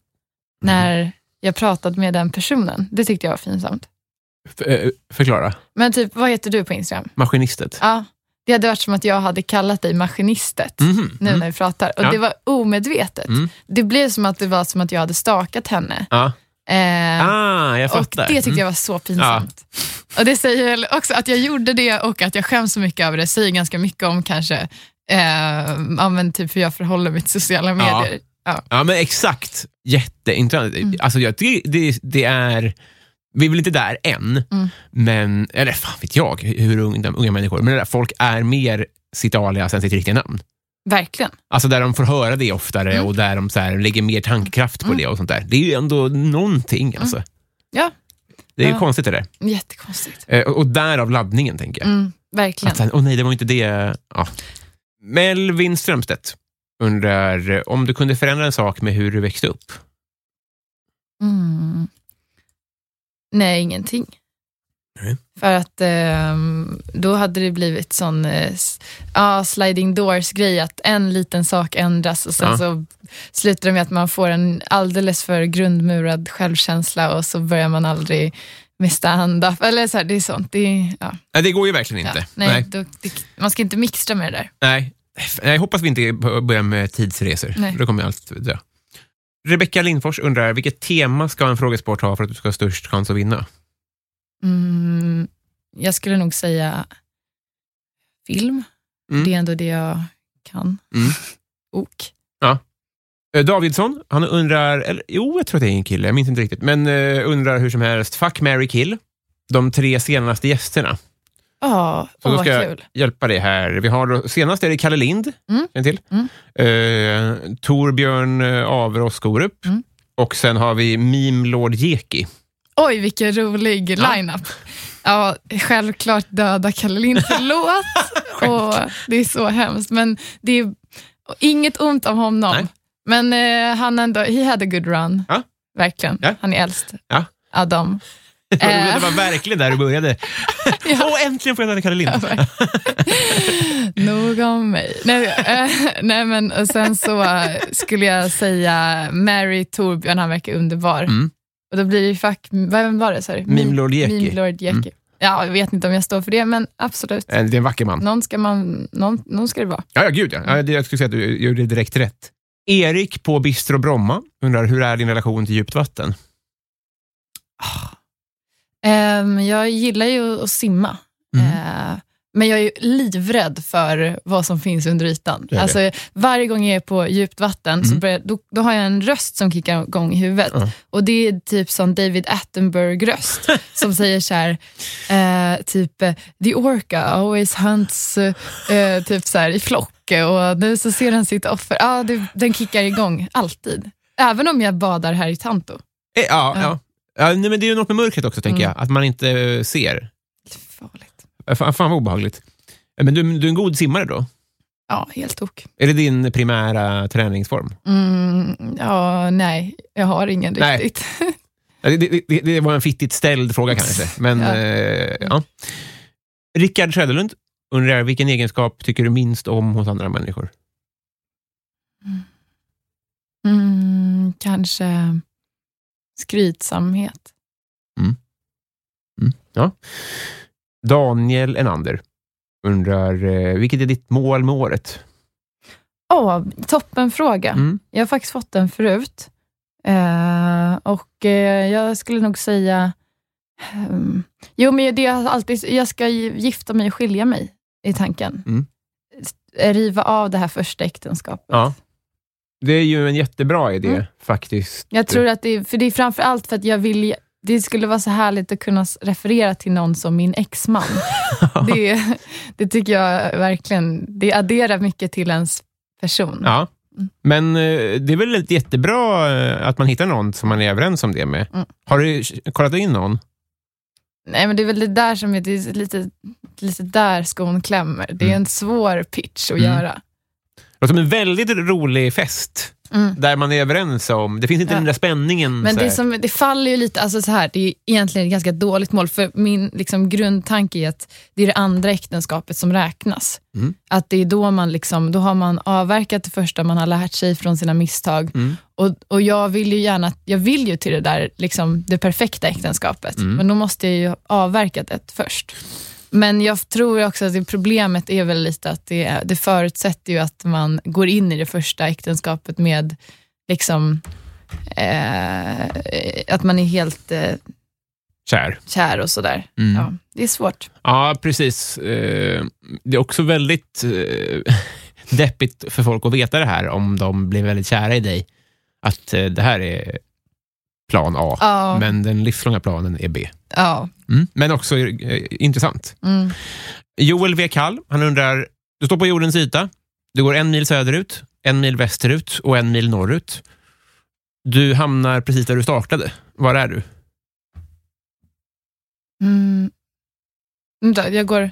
Speaker 3: när jag pratade med den personen. Det tyckte jag var finsamt.
Speaker 4: F- eh, förklara.
Speaker 3: Men typ, vad heter du på Instagram?
Speaker 4: Maskinistet.
Speaker 3: Ja, det hade varit som att jag hade kallat dig maskinistet
Speaker 4: Mhm.
Speaker 3: nu
Speaker 4: Mm.
Speaker 3: när vi pratar. Och
Speaker 4: Ja.
Speaker 3: det var omedvetet.
Speaker 4: Mm.
Speaker 3: Det blev som att det var som att jag hade stakat henne.
Speaker 4: Ja.
Speaker 3: Eh,
Speaker 4: Ah, jag
Speaker 3: och
Speaker 4: fattar.
Speaker 3: det tyckte
Speaker 4: Mm.
Speaker 3: jag var så pinsamt. Och det säger väl också att jag gjorde det och att jag skäms så mycket över det, säger ganska mycket om kanske eh, ja, men typ hur jag förhåller mig till sociala medier. Ja.
Speaker 4: Ja, men exakt. Jätteintressant.
Speaker 3: Mm.
Speaker 4: Alltså, jag tycker det, det är... Vi är väl inte där än,
Speaker 3: Mm.
Speaker 4: men, eller fan vet jag hur unga, unga människor, men det där, folk är mer sitt alias än sitt riktiga namn.
Speaker 3: Verkligen.
Speaker 4: Alltså där de får höra det oftare
Speaker 3: Mm.
Speaker 4: och där de så här, lägger mer tankekraft på det och sånt där. Det är ju ändå någonting alltså.
Speaker 3: Mm. Ja,
Speaker 4: Det är ju
Speaker 3: Ja.
Speaker 4: konstigt det där.
Speaker 3: jättekonstigt.
Speaker 4: Eh, Och, och därav laddningen, tänker jag.
Speaker 3: Mm, verkligen.
Speaker 4: Att så här, åh nej, det var inte det. Ja. Melvin Strömstedt undrar eh, om du kunde förändra en sak med hur du växte upp?
Speaker 3: Mm. Nej, ingenting.
Speaker 4: Nej.
Speaker 3: För att ehm, då hade det blivit sån eh, s- ja, sliding doors-grej, att en liten sak ändras och sen
Speaker 4: Ja.
Speaker 3: så slutar det med att man får en alldeles för grundmurad självkänsla och så börjar man aldrig med stand-up. Eller så här, det är sånt. Det, är- ja,
Speaker 4: Nej, det går ju verkligen
Speaker 3: ja.
Speaker 4: inte.
Speaker 3: Nej,
Speaker 4: Nej.
Speaker 3: Då, det, man ska inte mixtra med det där.
Speaker 4: Nej. Nej, Jag hoppas vi inte b- börjar med tidsresor.
Speaker 3: Nej.
Speaker 4: Då kommer jag allt dö. Rebecka Lindfors undrar, vilket tema ska en frågesport ha för att du ska ha störst chans att vinna?
Speaker 3: Mm, jag skulle nog säga film.
Speaker 4: Mm.
Speaker 3: Det är ändå det jag kan.
Speaker 4: Mm.
Speaker 3: Och
Speaker 4: Eh, Davidsson, han undrar, eller jo, jag tror att det är en kille, jag minns inte riktigt, men eh, undrar hur som helst, fuck, marry, kill, de tre senaste gästerna.
Speaker 3: Ja,
Speaker 4: Så
Speaker 3: åh
Speaker 4: då
Speaker 3: vad
Speaker 4: ska jag
Speaker 3: kul.
Speaker 4: hjälpa dig här. Vi har då, senast är det Kalle Lind,
Speaker 3: Mm.
Speaker 4: en till.
Speaker 3: Mm.
Speaker 4: Eh, Torbjörn eh, Averås Skorup.
Speaker 3: Mm.
Speaker 4: Och sen har vi Meme Lord Jeki.
Speaker 3: Oj, vilken rolig
Speaker 4: Ja.
Speaker 3: lineup. Ja, självklart döda Kalle Lind, förlåt. och det är så hemskt, men det är och inget ont om honom.
Speaker 4: Nej.
Speaker 3: Men eh, han ändå, he had a good run.
Speaker 4: Ja.
Speaker 3: Verkligen.
Speaker 4: Ja.
Speaker 3: Han är äldst.
Speaker 4: Ja.
Speaker 3: Adam.
Speaker 4: Äh. Det var verkligen där du började. Och äntligen får jag heta Kalle Lind.
Speaker 3: Nog om mig. Nej, eh, nej men och sen så eh, skulle jag säga Mary Torbjörn, han verkar underbar.
Speaker 4: Mm.
Speaker 3: Och då blir det ju fuck, vem var det sa du?
Speaker 4: Meme Mm. Lord Jeki.
Speaker 3: Meme Lord Jeki. Ja, jag vet inte om jag står för det, men absolut.
Speaker 4: Eh, Det är en vacker man.
Speaker 3: Någon ska, man, någon, någon ska det vara.
Speaker 4: Ja, ja gud ja. ja. det- Jag skulle säga att du gjorde direkt rätt. Erik på Bistro Bromma undrar, hur är din relation till djupt vatten?
Speaker 3: Ehm, jag gillar ju att simma. Eh, men jag är ju livrädd för vad som finns under ytan.
Speaker 4: är det.
Speaker 3: Alltså, varje gång jag är på djupt vatten så börjar, då, då har jag en röst som kickar igång i huvudet. Och det är typ som David Attenborough-röst som säger så här, eh, typ eh, “The orca always hunts” eh, typ så här, i flock eh, och nu så ser den sitt offer. Ja, det, den kickar igång, alltid. Även om jag badar här i Tanto.
Speaker 4: Eh, Ja, ja. ja.
Speaker 3: Ja.
Speaker 4: nej, men det är ju något med mörkret också, tänker jag. Att man inte eh, ser.
Speaker 3: Farligt.
Speaker 4: Eh, Fan, fan vad obehagligt. Eh, Men du, du är en god simmare då?
Speaker 3: Ja, helt tok.
Speaker 4: Är det din primära träningsform?
Speaker 3: Mm, ja, nej, jag har ingen
Speaker 4: Nej.
Speaker 3: riktigt.
Speaker 4: Ja, Det, det, det- det var en fittigt ställd fråga kanske. Men, ja.
Speaker 3: Ja.
Speaker 4: Eh, ja. Rickard Söderlund undrar vilken egenskap tycker du minst om hos andra människor?
Speaker 3: Mm, kanske skrytsamhet.
Speaker 4: Daniel Enander undrar eh, vilket är ditt mål med året?
Speaker 3: Åh, toppenfråga.
Speaker 4: Mm.
Speaker 3: Jag har faktiskt fått den förut. Eh, och eh, jag skulle nog säga... ehm, jo, men det jag, alltid, jag ska gi- gifta mig och skilja mig, i tanken.
Speaker 4: Mm.
Speaker 3: S- Riva av det här första äktenskapet.
Speaker 4: Ja. Det är ju en jättebra idé
Speaker 3: Mm.
Speaker 4: faktiskt.
Speaker 3: Jag tror att det, för det är framför allt för att jag vill Det skulle vara så härligt att kunna s- referera till någon som min exman. det, det tycker jag verkligen, det adderar mycket till ens person.
Speaker 4: Ja. Men eh, det är väl ett jättebra eh, att man hittar någon som man är överens om det med.
Speaker 3: Mm.
Speaker 4: Har du k- kollat in någon?
Speaker 3: Nej, men det är väl det där som är, det är lite, lite där skon klämmer. Det är
Speaker 4: Mm.
Speaker 3: en svår pitch att
Speaker 4: Mm.
Speaker 3: göra.
Speaker 4: Det låter som en väldigt rolig fest
Speaker 3: Mm.
Speaker 4: där man är överens om... Det finns inte
Speaker 3: Ja.
Speaker 4: den där spänningen.
Speaker 3: Men
Speaker 4: så
Speaker 3: det,
Speaker 4: här.
Speaker 3: som, det faller ju lite, alltså så här, det är egentligen ett ganska dåligt mål, för min liksom, grundtanke är att det är det andra äktenskapet som räknas.
Speaker 4: Mm.
Speaker 3: Att det är då man liksom, då har man avverkat det första, man har lärt sig från sina misstag.
Speaker 4: Mm.
Speaker 3: Och, och jag vill ju gärna, jag vill ju till det där, liksom, det perfekta äktenskapet,
Speaker 4: Mm.
Speaker 3: men då måste jag ju ha avverkat ett först. Men jag tror också att det problemet är väl lite att det, är- det förutsätter ju att man går in i det första äktenskapet med liksom, eh, att man är helt eh,
Speaker 4: Kär.
Speaker 3: kär och sådär.
Speaker 4: Mm.
Speaker 3: Ja, det är svårt.
Speaker 4: Ja, precis. Eh, Det är också väldigt eh, deppigt för folk att veta det här om de blir väldigt kära i dig. Att eh, det här är plan A,
Speaker 3: Ja,
Speaker 4: men den livslånga planen är B.
Speaker 3: ja.
Speaker 4: Mm. Men också eh, intressant.
Speaker 3: Mm.
Speaker 4: Joel V. Kall, han undrar, du står på jordens yta, du går en mil söderut, en mil västerut och en mil norrut. Du hamnar precis där du startade. Var är du?
Speaker 3: Mm. Vänta, Jag går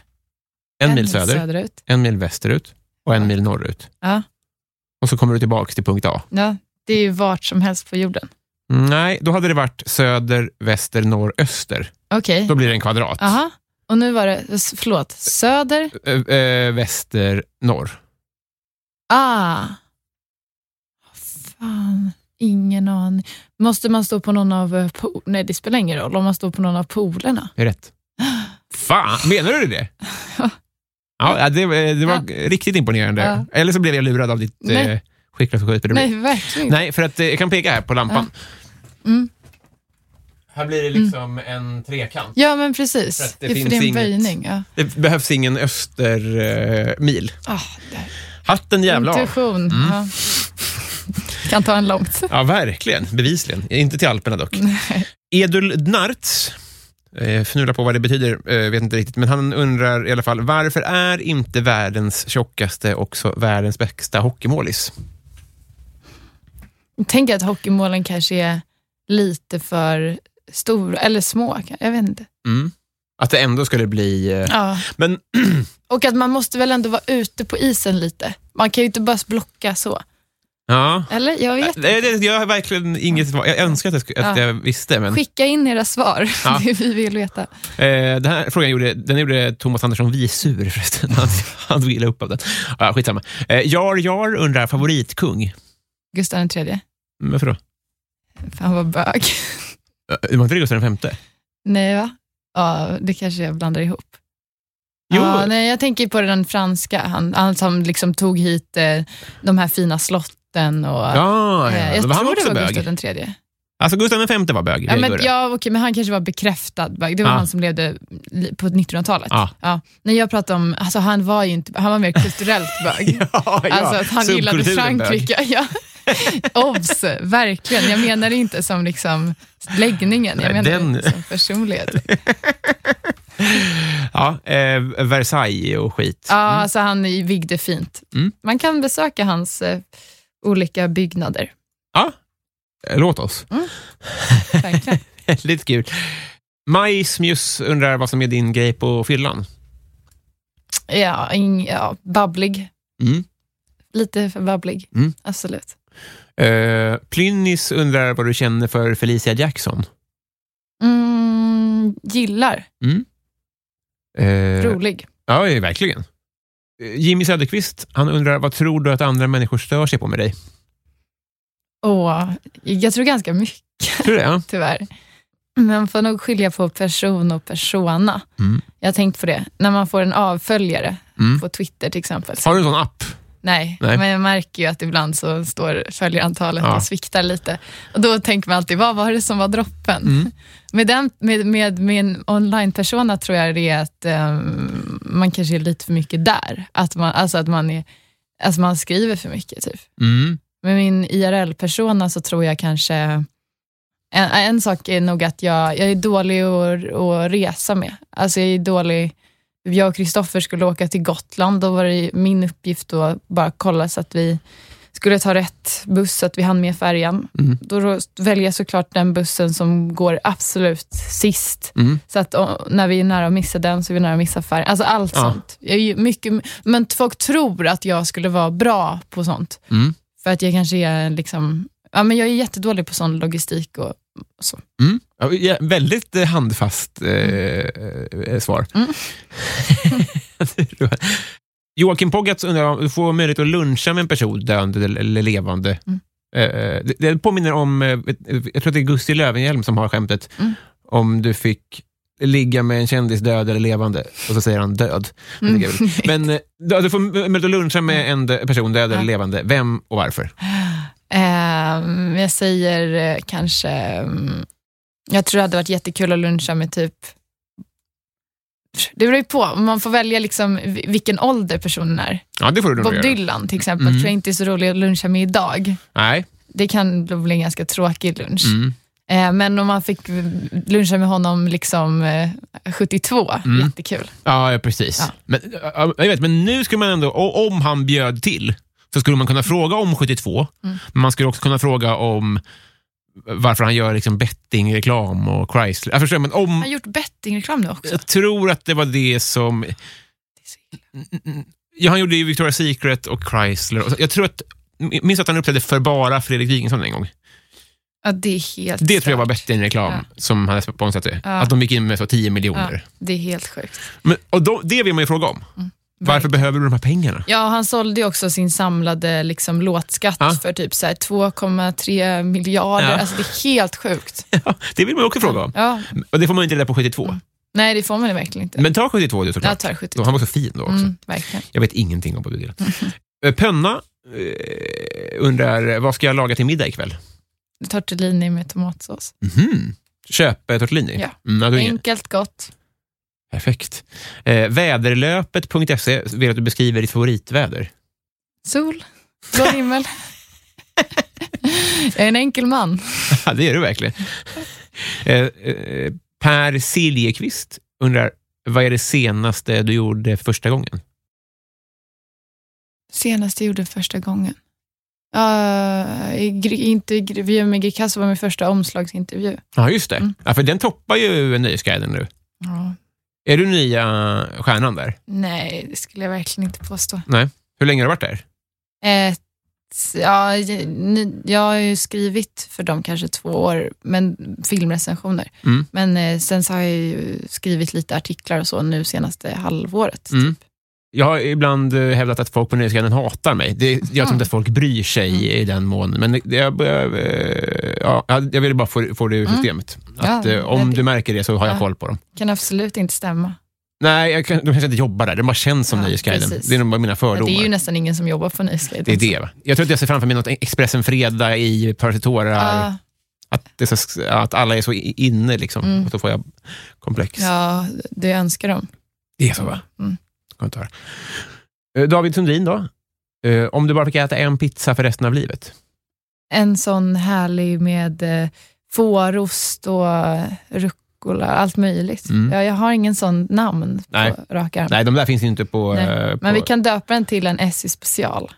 Speaker 4: En, mil söder,
Speaker 3: söderut.
Speaker 4: en mil västerut och en mil norrut.
Speaker 3: Ja.
Speaker 4: Och så kommer du tillbaka till punkt A.
Speaker 3: Ja, det är ju vart som helst på jorden.
Speaker 4: Nej, då hade det varit söder, väster, norr, öster.
Speaker 3: Okej.
Speaker 4: Då blir det en kvadrat.
Speaker 3: Aha. Och nu var det, s- förlåt, söder?
Speaker 4: Ö- ö, väster, norr.
Speaker 3: Ah. Fan, ingen aning. Måste man stå på någon av eh, po- Nej, det spelar ingen roll om man står på någon av polerna.
Speaker 4: Det är rätt. Fan, menar du det?
Speaker 3: Ja.
Speaker 4: Ja, det, det var riktigt imponerande.
Speaker 3: Ja.
Speaker 4: Eller så blev jag lurad av ditt
Speaker 3: Nej.
Speaker 4: eh, skickliga skjutbedömning.
Speaker 3: Nej, verkligen
Speaker 4: Nej, för att eh, jag kan peka här på lampan.
Speaker 3: Mm.
Speaker 4: Här blir det liksom en trekant.
Speaker 3: Ja, men precis.
Speaker 4: För att det
Speaker 3: det, är för
Speaker 4: finns
Speaker 3: det är en
Speaker 4: inget-
Speaker 3: böjning. Ja.
Speaker 4: Det behövs ingen östermil. Eh,
Speaker 3: Ah,
Speaker 4: Hatten jävla av.
Speaker 3: intuition.
Speaker 4: Mm.
Speaker 3: Ja. Kan ta en långt.
Speaker 4: Ja, verkligen. Bevisligen. Inte till Alperna dock. Edul Dnarts, eh, fnula på vad det betyder, eh, vet inte riktigt, men han undrar i alla fall, varför är inte världens tjockaste också världens bästa hockeymålis?
Speaker 3: Jag tänker att hockeymålen kanske är lite för stora, eller små. Jag vet inte.
Speaker 4: Mm. Att det ändå skulle bli... Eh,
Speaker 3: Ja.
Speaker 4: Men
Speaker 3: Och att man måste väl ändå vara ute på isen lite. Man kan ju inte bara blocka så.
Speaker 4: ja,
Speaker 3: Eller? Jag vet
Speaker 4: Nej,
Speaker 3: inte.
Speaker 4: det, jag har verkligen inget svar. Jag önskar att jag, sku- att
Speaker 3: Ja.
Speaker 4: jag visste, men
Speaker 3: Skicka in era svar.
Speaker 4: Ja.
Speaker 3: Det vi vill veta.
Speaker 4: eh, den här frågan gjorde, den gjorde Thomas Andersson Visur förresten. Han, han tog illa upp av den. Ja, skitsamma. Eh, jar Jar undrar favoritkung.
Speaker 3: Gustav den tredje.
Speaker 4: Men Varför då?
Speaker 3: Fan vad bög.
Speaker 4: Eh, Det var inte det Gustav V?
Speaker 3: Nej, va? Ja, det kanske jag blandar ihop.
Speaker 4: Jo.
Speaker 3: Ja, nej, jag tänker på den franska. Han, han som liksom tog hit eh, de här fina slotten. Och,
Speaker 4: Ja,
Speaker 3: eh,
Speaker 4: ja.
Speaker 3: jag
Speaker 4: Då var han
Speaker 3: tror
Speaker 4: också
Speaker 3: det var
Speaker 4: bög.
Speaker 3: Gustav den tredje.
Speaker 4: Alltså Gustav V var bög.
Speaker 3: Ja,
Speaker 4: det
Speaker 3: men,
Speaker 4: går det.
Speaker 3: ja, okej, men han kanske var bekräftad bög. Det var
Speaker 4: Ja.
Speaker 3: han som levde li- på 1900-talet.
Speaker 4: Ja.
Speaker 3: När jag pratar om, alltså, han var ju inte, han var mer kulturellt bög.
Speaker 4: ja, ja.
Speaker 3: Alltså att han gillade
Speaker 4: Subkulturen bög.
Speaker 3: Frankrike. Ja. Obs, verkligen. Jag menar inte som liksom läggningen, jag
Speaker 4: Nej,
Speaker 3: menar
Speaker 4: den-
Speaker 3: som personlighet.
Speaker 4: Ja, eh, Versailles och skit.
Speaker 3: Ja, alltså han vigde fint.
Speaker 4: Mm.
Speaker 3: Man kan besöka hans eh, olika byggnader.
Speaker 4: Eh, Låt oss.
Speaker 3: Verkligen.
Speaker 4: Lite kul. Majsmjus undrar vad som är din grej på fyllan.
Speaker 3: ja, ing, ja, babblig.
Speaker 4: Mm.
Speaker 3: Lite för babblig,
Speaker 4: Mm.
Speaker 3: absolut.
Speaker 4: Eh, Plynnis undrar vad du känner för Felicia Jackson.
Speaker 3: Mm, gillar,
Speaker 4: Eh,
Speaker 3: rolig.
Speaker 4: ja, ja, verkligen. Eh, Jimmy Söderqvist, han undrar vad tror du att andra människor stör sig på med dig?
Speaker 3: Och, jag tror ganska mycket
Speaker 4: Tror du det? Ja.
Speaker 3: tyvärr. Man får nog skilja på person och persona.
Speaker 4: Mm.
Speaker 3: Jag har tänkt på det. När man får en avföljare
Speaker 4: Mm.
Speaker 3: på Twitter till exempel.
Speaker 4: Har du en sån app?
Speaker 3: Nej,
Speaker 4: Nej.
Speaker 3: men jag märker ju att ibland så står följarantalet
Speaker 4: Ja.
Speaker 3: och sviktar lite. Och då tänker man alltid, vad var det som var droppen?
Speaker 4: Mm.
Speaker 3: Med, den, med, med min online-persona tror jag det är att eh, man kanske är lite för mycket där. Att man, alltså att man, är, alltså man skriver för mycket. Typ.
Speaker 4: Mm.
Speaker 3: Med min IRL-persona så tror jag kanske En, en sak är nog att jag, jag är dålig att, att resa med. Alltså jag är dålig. Jag och Kristoffer skulle åka till Gotland. Då var det min uppgift att bara kolla så att vi skulle ta rätt buss, så att vi hann med färjan.
Speaker 4: Mm.
Speaker 3: Då rå- väljer jag såklart den bussen som går absolut sist.
Speaker 4: Mm.
Speaker 3: Så att å- när vi är nära att missa den, så är vi nära att missa färjan. Alltså allt
Speaker 4: Ja.
Speaker 3: sånt. Jag är ju mycket, men folk tror att jag skulle vara bra på sånt.
Speaker 4: Mm.
Speaker 3: För att jag kanske är liksom, ja men jag är jättedålig på sån logistik och
Speaker 4: Mm. Ja, ja, väldigt eh, handfast eh, eh, svar.
Speaker 3: Mm.
Speaker 4: Joakim Poggatz undrar om du får möjlighet att luncha med en person, död eller eller levande.
Speaker 3: Mm.
Speaker 4: Eh, det, det påminner om, eh, jag tror att det är Gusti Löwenhjelm som har skämtet,
Speaker 3: Mm.
Speaker 4: om du fick ligga med en kändis död eller levande, och så säger han död. Men det är väl- Men eh, du du får möjlighet att luncha med en dö- person, död eller
Speaker 3: Mm. Ja.
Speaker 4: levande. Vem och varför?
Speaker 3: Ehm, jag säger eh, kanske, mm, jag tror det hade varit jättekul att luncha med typ, det beror ju på, man får välja liksom vi- vilken ålder personen är.
Speaker 4: Ja, det får du nog
Speaker 3: Bob
Speaker 4: göra.
Speaker 3: Dylan till exempel,
Speaker 4: Mm.
Speaker 3: tror jag inte är så rolig att luncha med idag.
Speaker 4: Nej.
Speaker 3: Det kan bli en ganska tråkig lunch.
Speaker 4: Mm.
Speaker 3: Eh, Men om man fick luncha med honom liksom eh, 72,
Speaker 4: Mm.
Speaker 3: jättekul.
Speaker 4: Ja, ja precis.
Speaker 3: Ja.
Speaker 4: Men, ja, jag vet, men nu skulle man ändå, o- om han bjöd till, så skulle man kunna fråga om 72,
Speaker 3: Mm.
Speaker 4: men man skulle också kunna fråga om varför han gör liksom bettingreklam och Chrysler. Jag förstår, men
Speaker 3: Han
Speaker 4: om,
Speaker 3: har gjort bettingreklam nu också.
Speaker 4: jag tror att det var det som... Ja, han gjorde ju Victoria's Secret och Chrysler. Och så- Jag tror att, minns att han uppträdde för bara Fredrik Wikingsson en gång.
Speaker 3: Ja, det är helt
Speaker 4: Det tror jag var
Speaker 3: stört.
Speaker 4: bettingreklam
Speaker 3: Ja.
Speaker 4: som hade sponsrat det.
Speaker 3: Ja.
Speaker 4: Att de gick in med så 10 miljoner.
Speaker 3: Ja, det är helt sjukt.
Speaker 4: Men, och då, det vill man ju fråga om.
Speaker 3: Mm.
Speaker 4: Varför behöver du de här pengarna?
Speaker 3: Ja, han sålde ju också sin samlade liksom, låtskatt
Speaker 4: Ja.
Speaker 3: för typ så här 2,3 miljarder.
Speaker 4: Ja.
Speaker 3: Alltså, det är helt sjukt.
Speaker 4: Ja, det vill man också fråga om.
Speaker 3: Ja.
Speaker 4: Och det får man ju inte reda på 72.
Speaker 3: Nej, det får man ju verkligen inte.
Speaker 4: Men Mm. ta 72 du såklart.
Speaker 3: jag tar
Speaker 4: Då,
Speaker 3: 72.
Speaker 4: han var så fin då också.
Speaker 3: Mm, verkligen.
Speaker 4: Jag vet ingenting om Bob Dylan. Eh, Pönna eh, undrar, vad ska jag laga till middag ikväll?
Speaker 3: Tortellini med tomatsås.
Speaker 4: Mhm. Köpetortellini?
Speaker 3: Ja.
Speaker 4: Mm, ja, du har ingen-
Speaker 3: Enkelt, gott.
Speaker 4: Perfekt. Eh, väderlöpet.se vill att du beskriver ditt favoritväder.
Speaker 3: Sol, blå himmel. jag är en enkel man.
Speaker 4: Ja, det är du verkligen. Eh, eh, per Siljeqvist undrar, vad är det senaste du gjorde första gången?
Speaker 3: Senast jag gjorde första gången. Uh, i, gr- inte i intervju med Greekazo var min första omslagsintervju.
Speaker 4: Ja, just det.
Speaker 3: Mm.
Speaker 4: Ja, för den toppar ju Nöjesguiden nu.
Speaker 3: Ja.
Speaker 4: Är du nya stjärnan där?
Speaker 3: Nej, det skulle jag verkligen inte påstå.
Speaker 4: Hur länge har du varit där?
Speaker 3: Ett, ja, j- ni- jag har ju skrivit för dem kanske två år, men filmrecensioner.
Speaker 4: Mm.
Speaker 3: Men eh, sen så har jag ju skrivit lite artiklar och så nu senaste halvåret.
Speaker 4: Mm. Jag har ibland eh, hävdat att folk på Nöjesguiden hatar mig. Det, jag tror
Speaker 3: Ah.
Speaker 4: inte att folk bryr sig
Speaker 3: Mm.
Speaker 4: i den mån. Men det- jag, börjar, eh, ja, jag ville bara få, få det ur
Speaker 3: Mm.
Speaker 4: systemet.
Speaker 3: Ja,
Speaker 4: Att, eh, om
Speaker 3: det-
Speaker 4: du märker det så har jag
Speaker 3: Ja.
Speaker 4: koll på dem.
Speaker 3: Kan absolut inte stämma.
Speaker 4: Nej, jag kan, de kanske inte jobbar där. De bara känns som
Speaker 3: Ja,
Speaker 4: Nöjesguiden.
Speaker 3: precis.
Speaker 4: Det är nog bara mina
Speaker 3: Men
Speaker 4: fördomar.
Speaker 3: det är ju nästan ingen som jobbar på Nöjesguiden.
Speaker 4: det, är det, va? Jag tror att jag ser framför mig något Expressen Fredag i Parasitora.
Speaker 3: Ja,
Speaker 4: Att, det är så- att alla är så i- inne liksom.
Speaker 3: Mm.
Speaker 4: Och så får jag komplex.
Speaker 3: ja, det önskar de.
Speaker 4: Det är så va?
Speaker 3: Mm.
Speaker 4: Skönt att höra. Eh, David Sundin då? Eh, Om du bara fick äta en pizza för resten av livet?
Speaker 3: En sån härlig med eh, fårost och eh, rucola, allt möjligt.
Speaker 4: Mm.
Speaker 3: Ja, jag har ingen sån namn
Speaker 4: Nej.
Speaker 3: på rak arm.
Speaker 4: Nej, de där finns ju inte på...
Speaker 3: Nej,
Speaker 4: eh, på
Speaker 3: Men vi kan döpa den till en SJ special.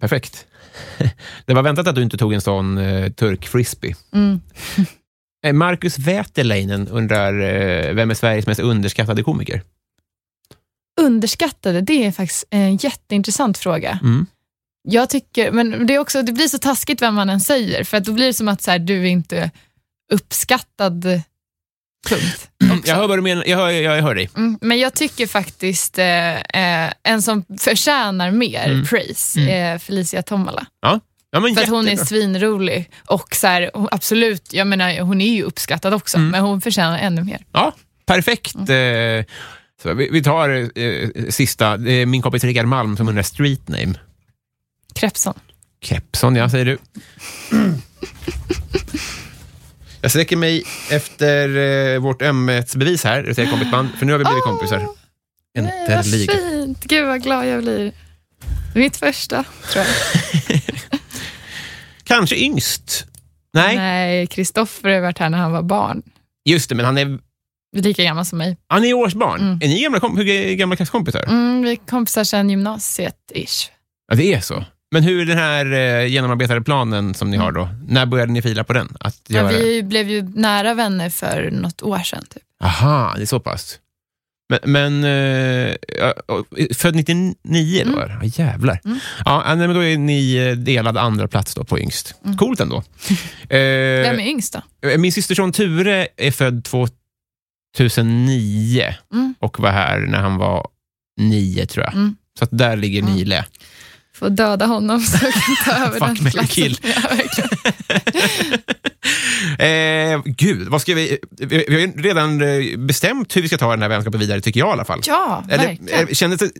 Speaker 4: Perfekt. Det var väntat att du inte tog en sån eh, turk-frisbee.
Speaker 3: Mm.
Speaker 4: Eh, Marcus Wäterleinen undrar, eh, vem är Sveriges mest underskattade komiker?
Speaker 3: Underskattade, det är faktiskt en jätteintressant fråga.
Speaker 4: Mm.
Speaker 3: Jag tycker, men det, är också, det blir så taskigt vem man än säger, för att då blir det som att så här, du är inte uppskattad. Punkt.
Speaker 4: Jag hör vad du menar, jag hör, jag, jag hör dig.
Speaker 3: Mm, men jag tycker faktiskt eh, eh, en som förtjänar mer
Speaker 4: Mm.
Speaker 3: praise är Felicia Tomala.
Speaker 4: Ja, men
Speaker 3: För att hon är
Speaker 4: jättebra.
Speaker 3: svinrolig och så här, hon- absolut, jag menar hon är ju uppskattad också,
Speaker 4: Mm.
Speaker 3: men hon förtjänar ännu mer.
Speaker 4: Ja, perfekt.
Speaker 3: Mm.
Speaker 4: Eh, Så vi, vi tar eh, sista, det är min kompis Rickard Malm som undrar street name.
Speaker 3: Krebsson.
Speaker 4: Kepson, ja, säger du. Jag sträcker mig efter eh, vårt ömhetsbevis här, det säger kompisband, för nu har vi blivit kompisar.
Speaker 3: Nej,
Speaker 4: Äntligen.
Speaker 3: Eh, vad fint. Gud vad glad jag blir. Mitt första, tror jag.
Speaker 4: Kanske yngst Nej,
Speaker 3: Nej, Kristoffer har varit här när han var barn.
Speaker 4: just det, men han är,
Speaker 3: Lika gammal som mig.
Speaker 4: han är årsbarn.
Speaker 3: Mm.
Speaker 4: Är ni gamla, kom, hur gamla klasskompisar?
Speaker 3: Mm, vi är kompisar sedan gymnasiet-ish.
Speaker 4: Ja, det är så. Men hur är den här eh, genomarbetade planen som ni har då? När började ni fila på den? Att
Speaker 3: Mm. Ja,
Speaker 4: göra...
Speaker 3: vi blev ju nära vänner för något år sedan. Typ.
Speaker 4: Aha, det är så pass. Men, men eh, ja, och- född 99 då? Mm. Ja, jävlar. Ja, nej, men då är ni eh, delad andra plats då på yngst. Coolt ändå.
Speaker 3: Mm. Vem
Speaker 4: Eh,
Speaker 3: är yngst då?
Speaker 4: min systerson Ture är född 2009
Speaker 3: Mm.
Speaker 4: och var här när han var nio, tror jag.
Speaker 3: Mm.
Speaker 4: Så att där ligger ni i lä.
Speaker 3: Får döda honom så jag kan ta över
Speaker 4: Fuck,
Speaker 3: den
Speaker 4: marry, kill.
Speaker 3: Ja, verkligen.
Speaker 4: eh, gud, vad ska vi... Vi vi har ju redan eh, bestämt hur vi ska ta den här vänskapen vidare, tycker jag i alla fall.
Speaker 3: ja
Speaker 4: Eller, eh,
Speaker 3: verkligen.
Speaker 4: eller kändes, det,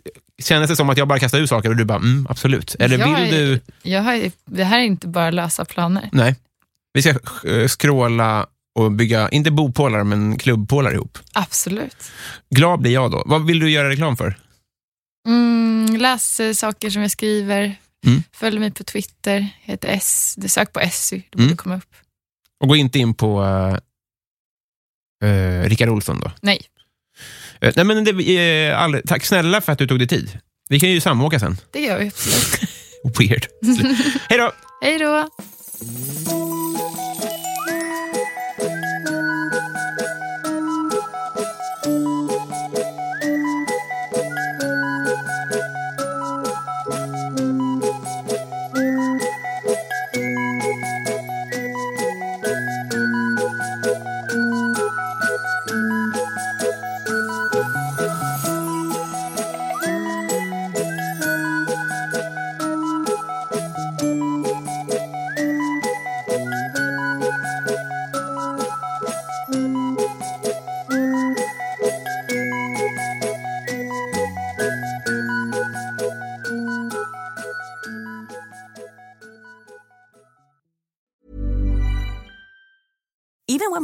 Speaker 4: kändes det som att jag bara kastar ut saker och du bara, mm, absolut. Eller
Speaker 3: Jag
Speaker 4: vill
Speaker 3: är-
Speaker 4: du...
Speaker 3: Jag har, ju- det här är inte bara lösa planer.
Speaker 4: Nej. Vi ska eh, skråla och bygga, inte bopålar, men klubbpålar ihop.
Speaker 3: Absolut.
Speaker 4: Glad blir jag då. Vad vill du göra reklam för?
Speaker 3: Mm, läs eh, saker som jag skriver.
Speaker 4: Mm.
Speaker 3: Följ mig på Twitter. Jag heter S. Du sök på Essy, då borde
Speaker 4: Mm.
Speaker 3: det komma upp.
Speaker 4: Och gå inte in på eh, eh, Rickard Olsson då.
Speaker 3: Nej.
Speaker 4: Eh, nej, men det, eh, all, tack snälla för att du tog dig tid. Vi kan ju samåka sen.
Speaker 3: Det gör vi absolut.
Speaker 4: Weird. Hej då!
Speaker 3: Hej då!
Speaker 6: Even when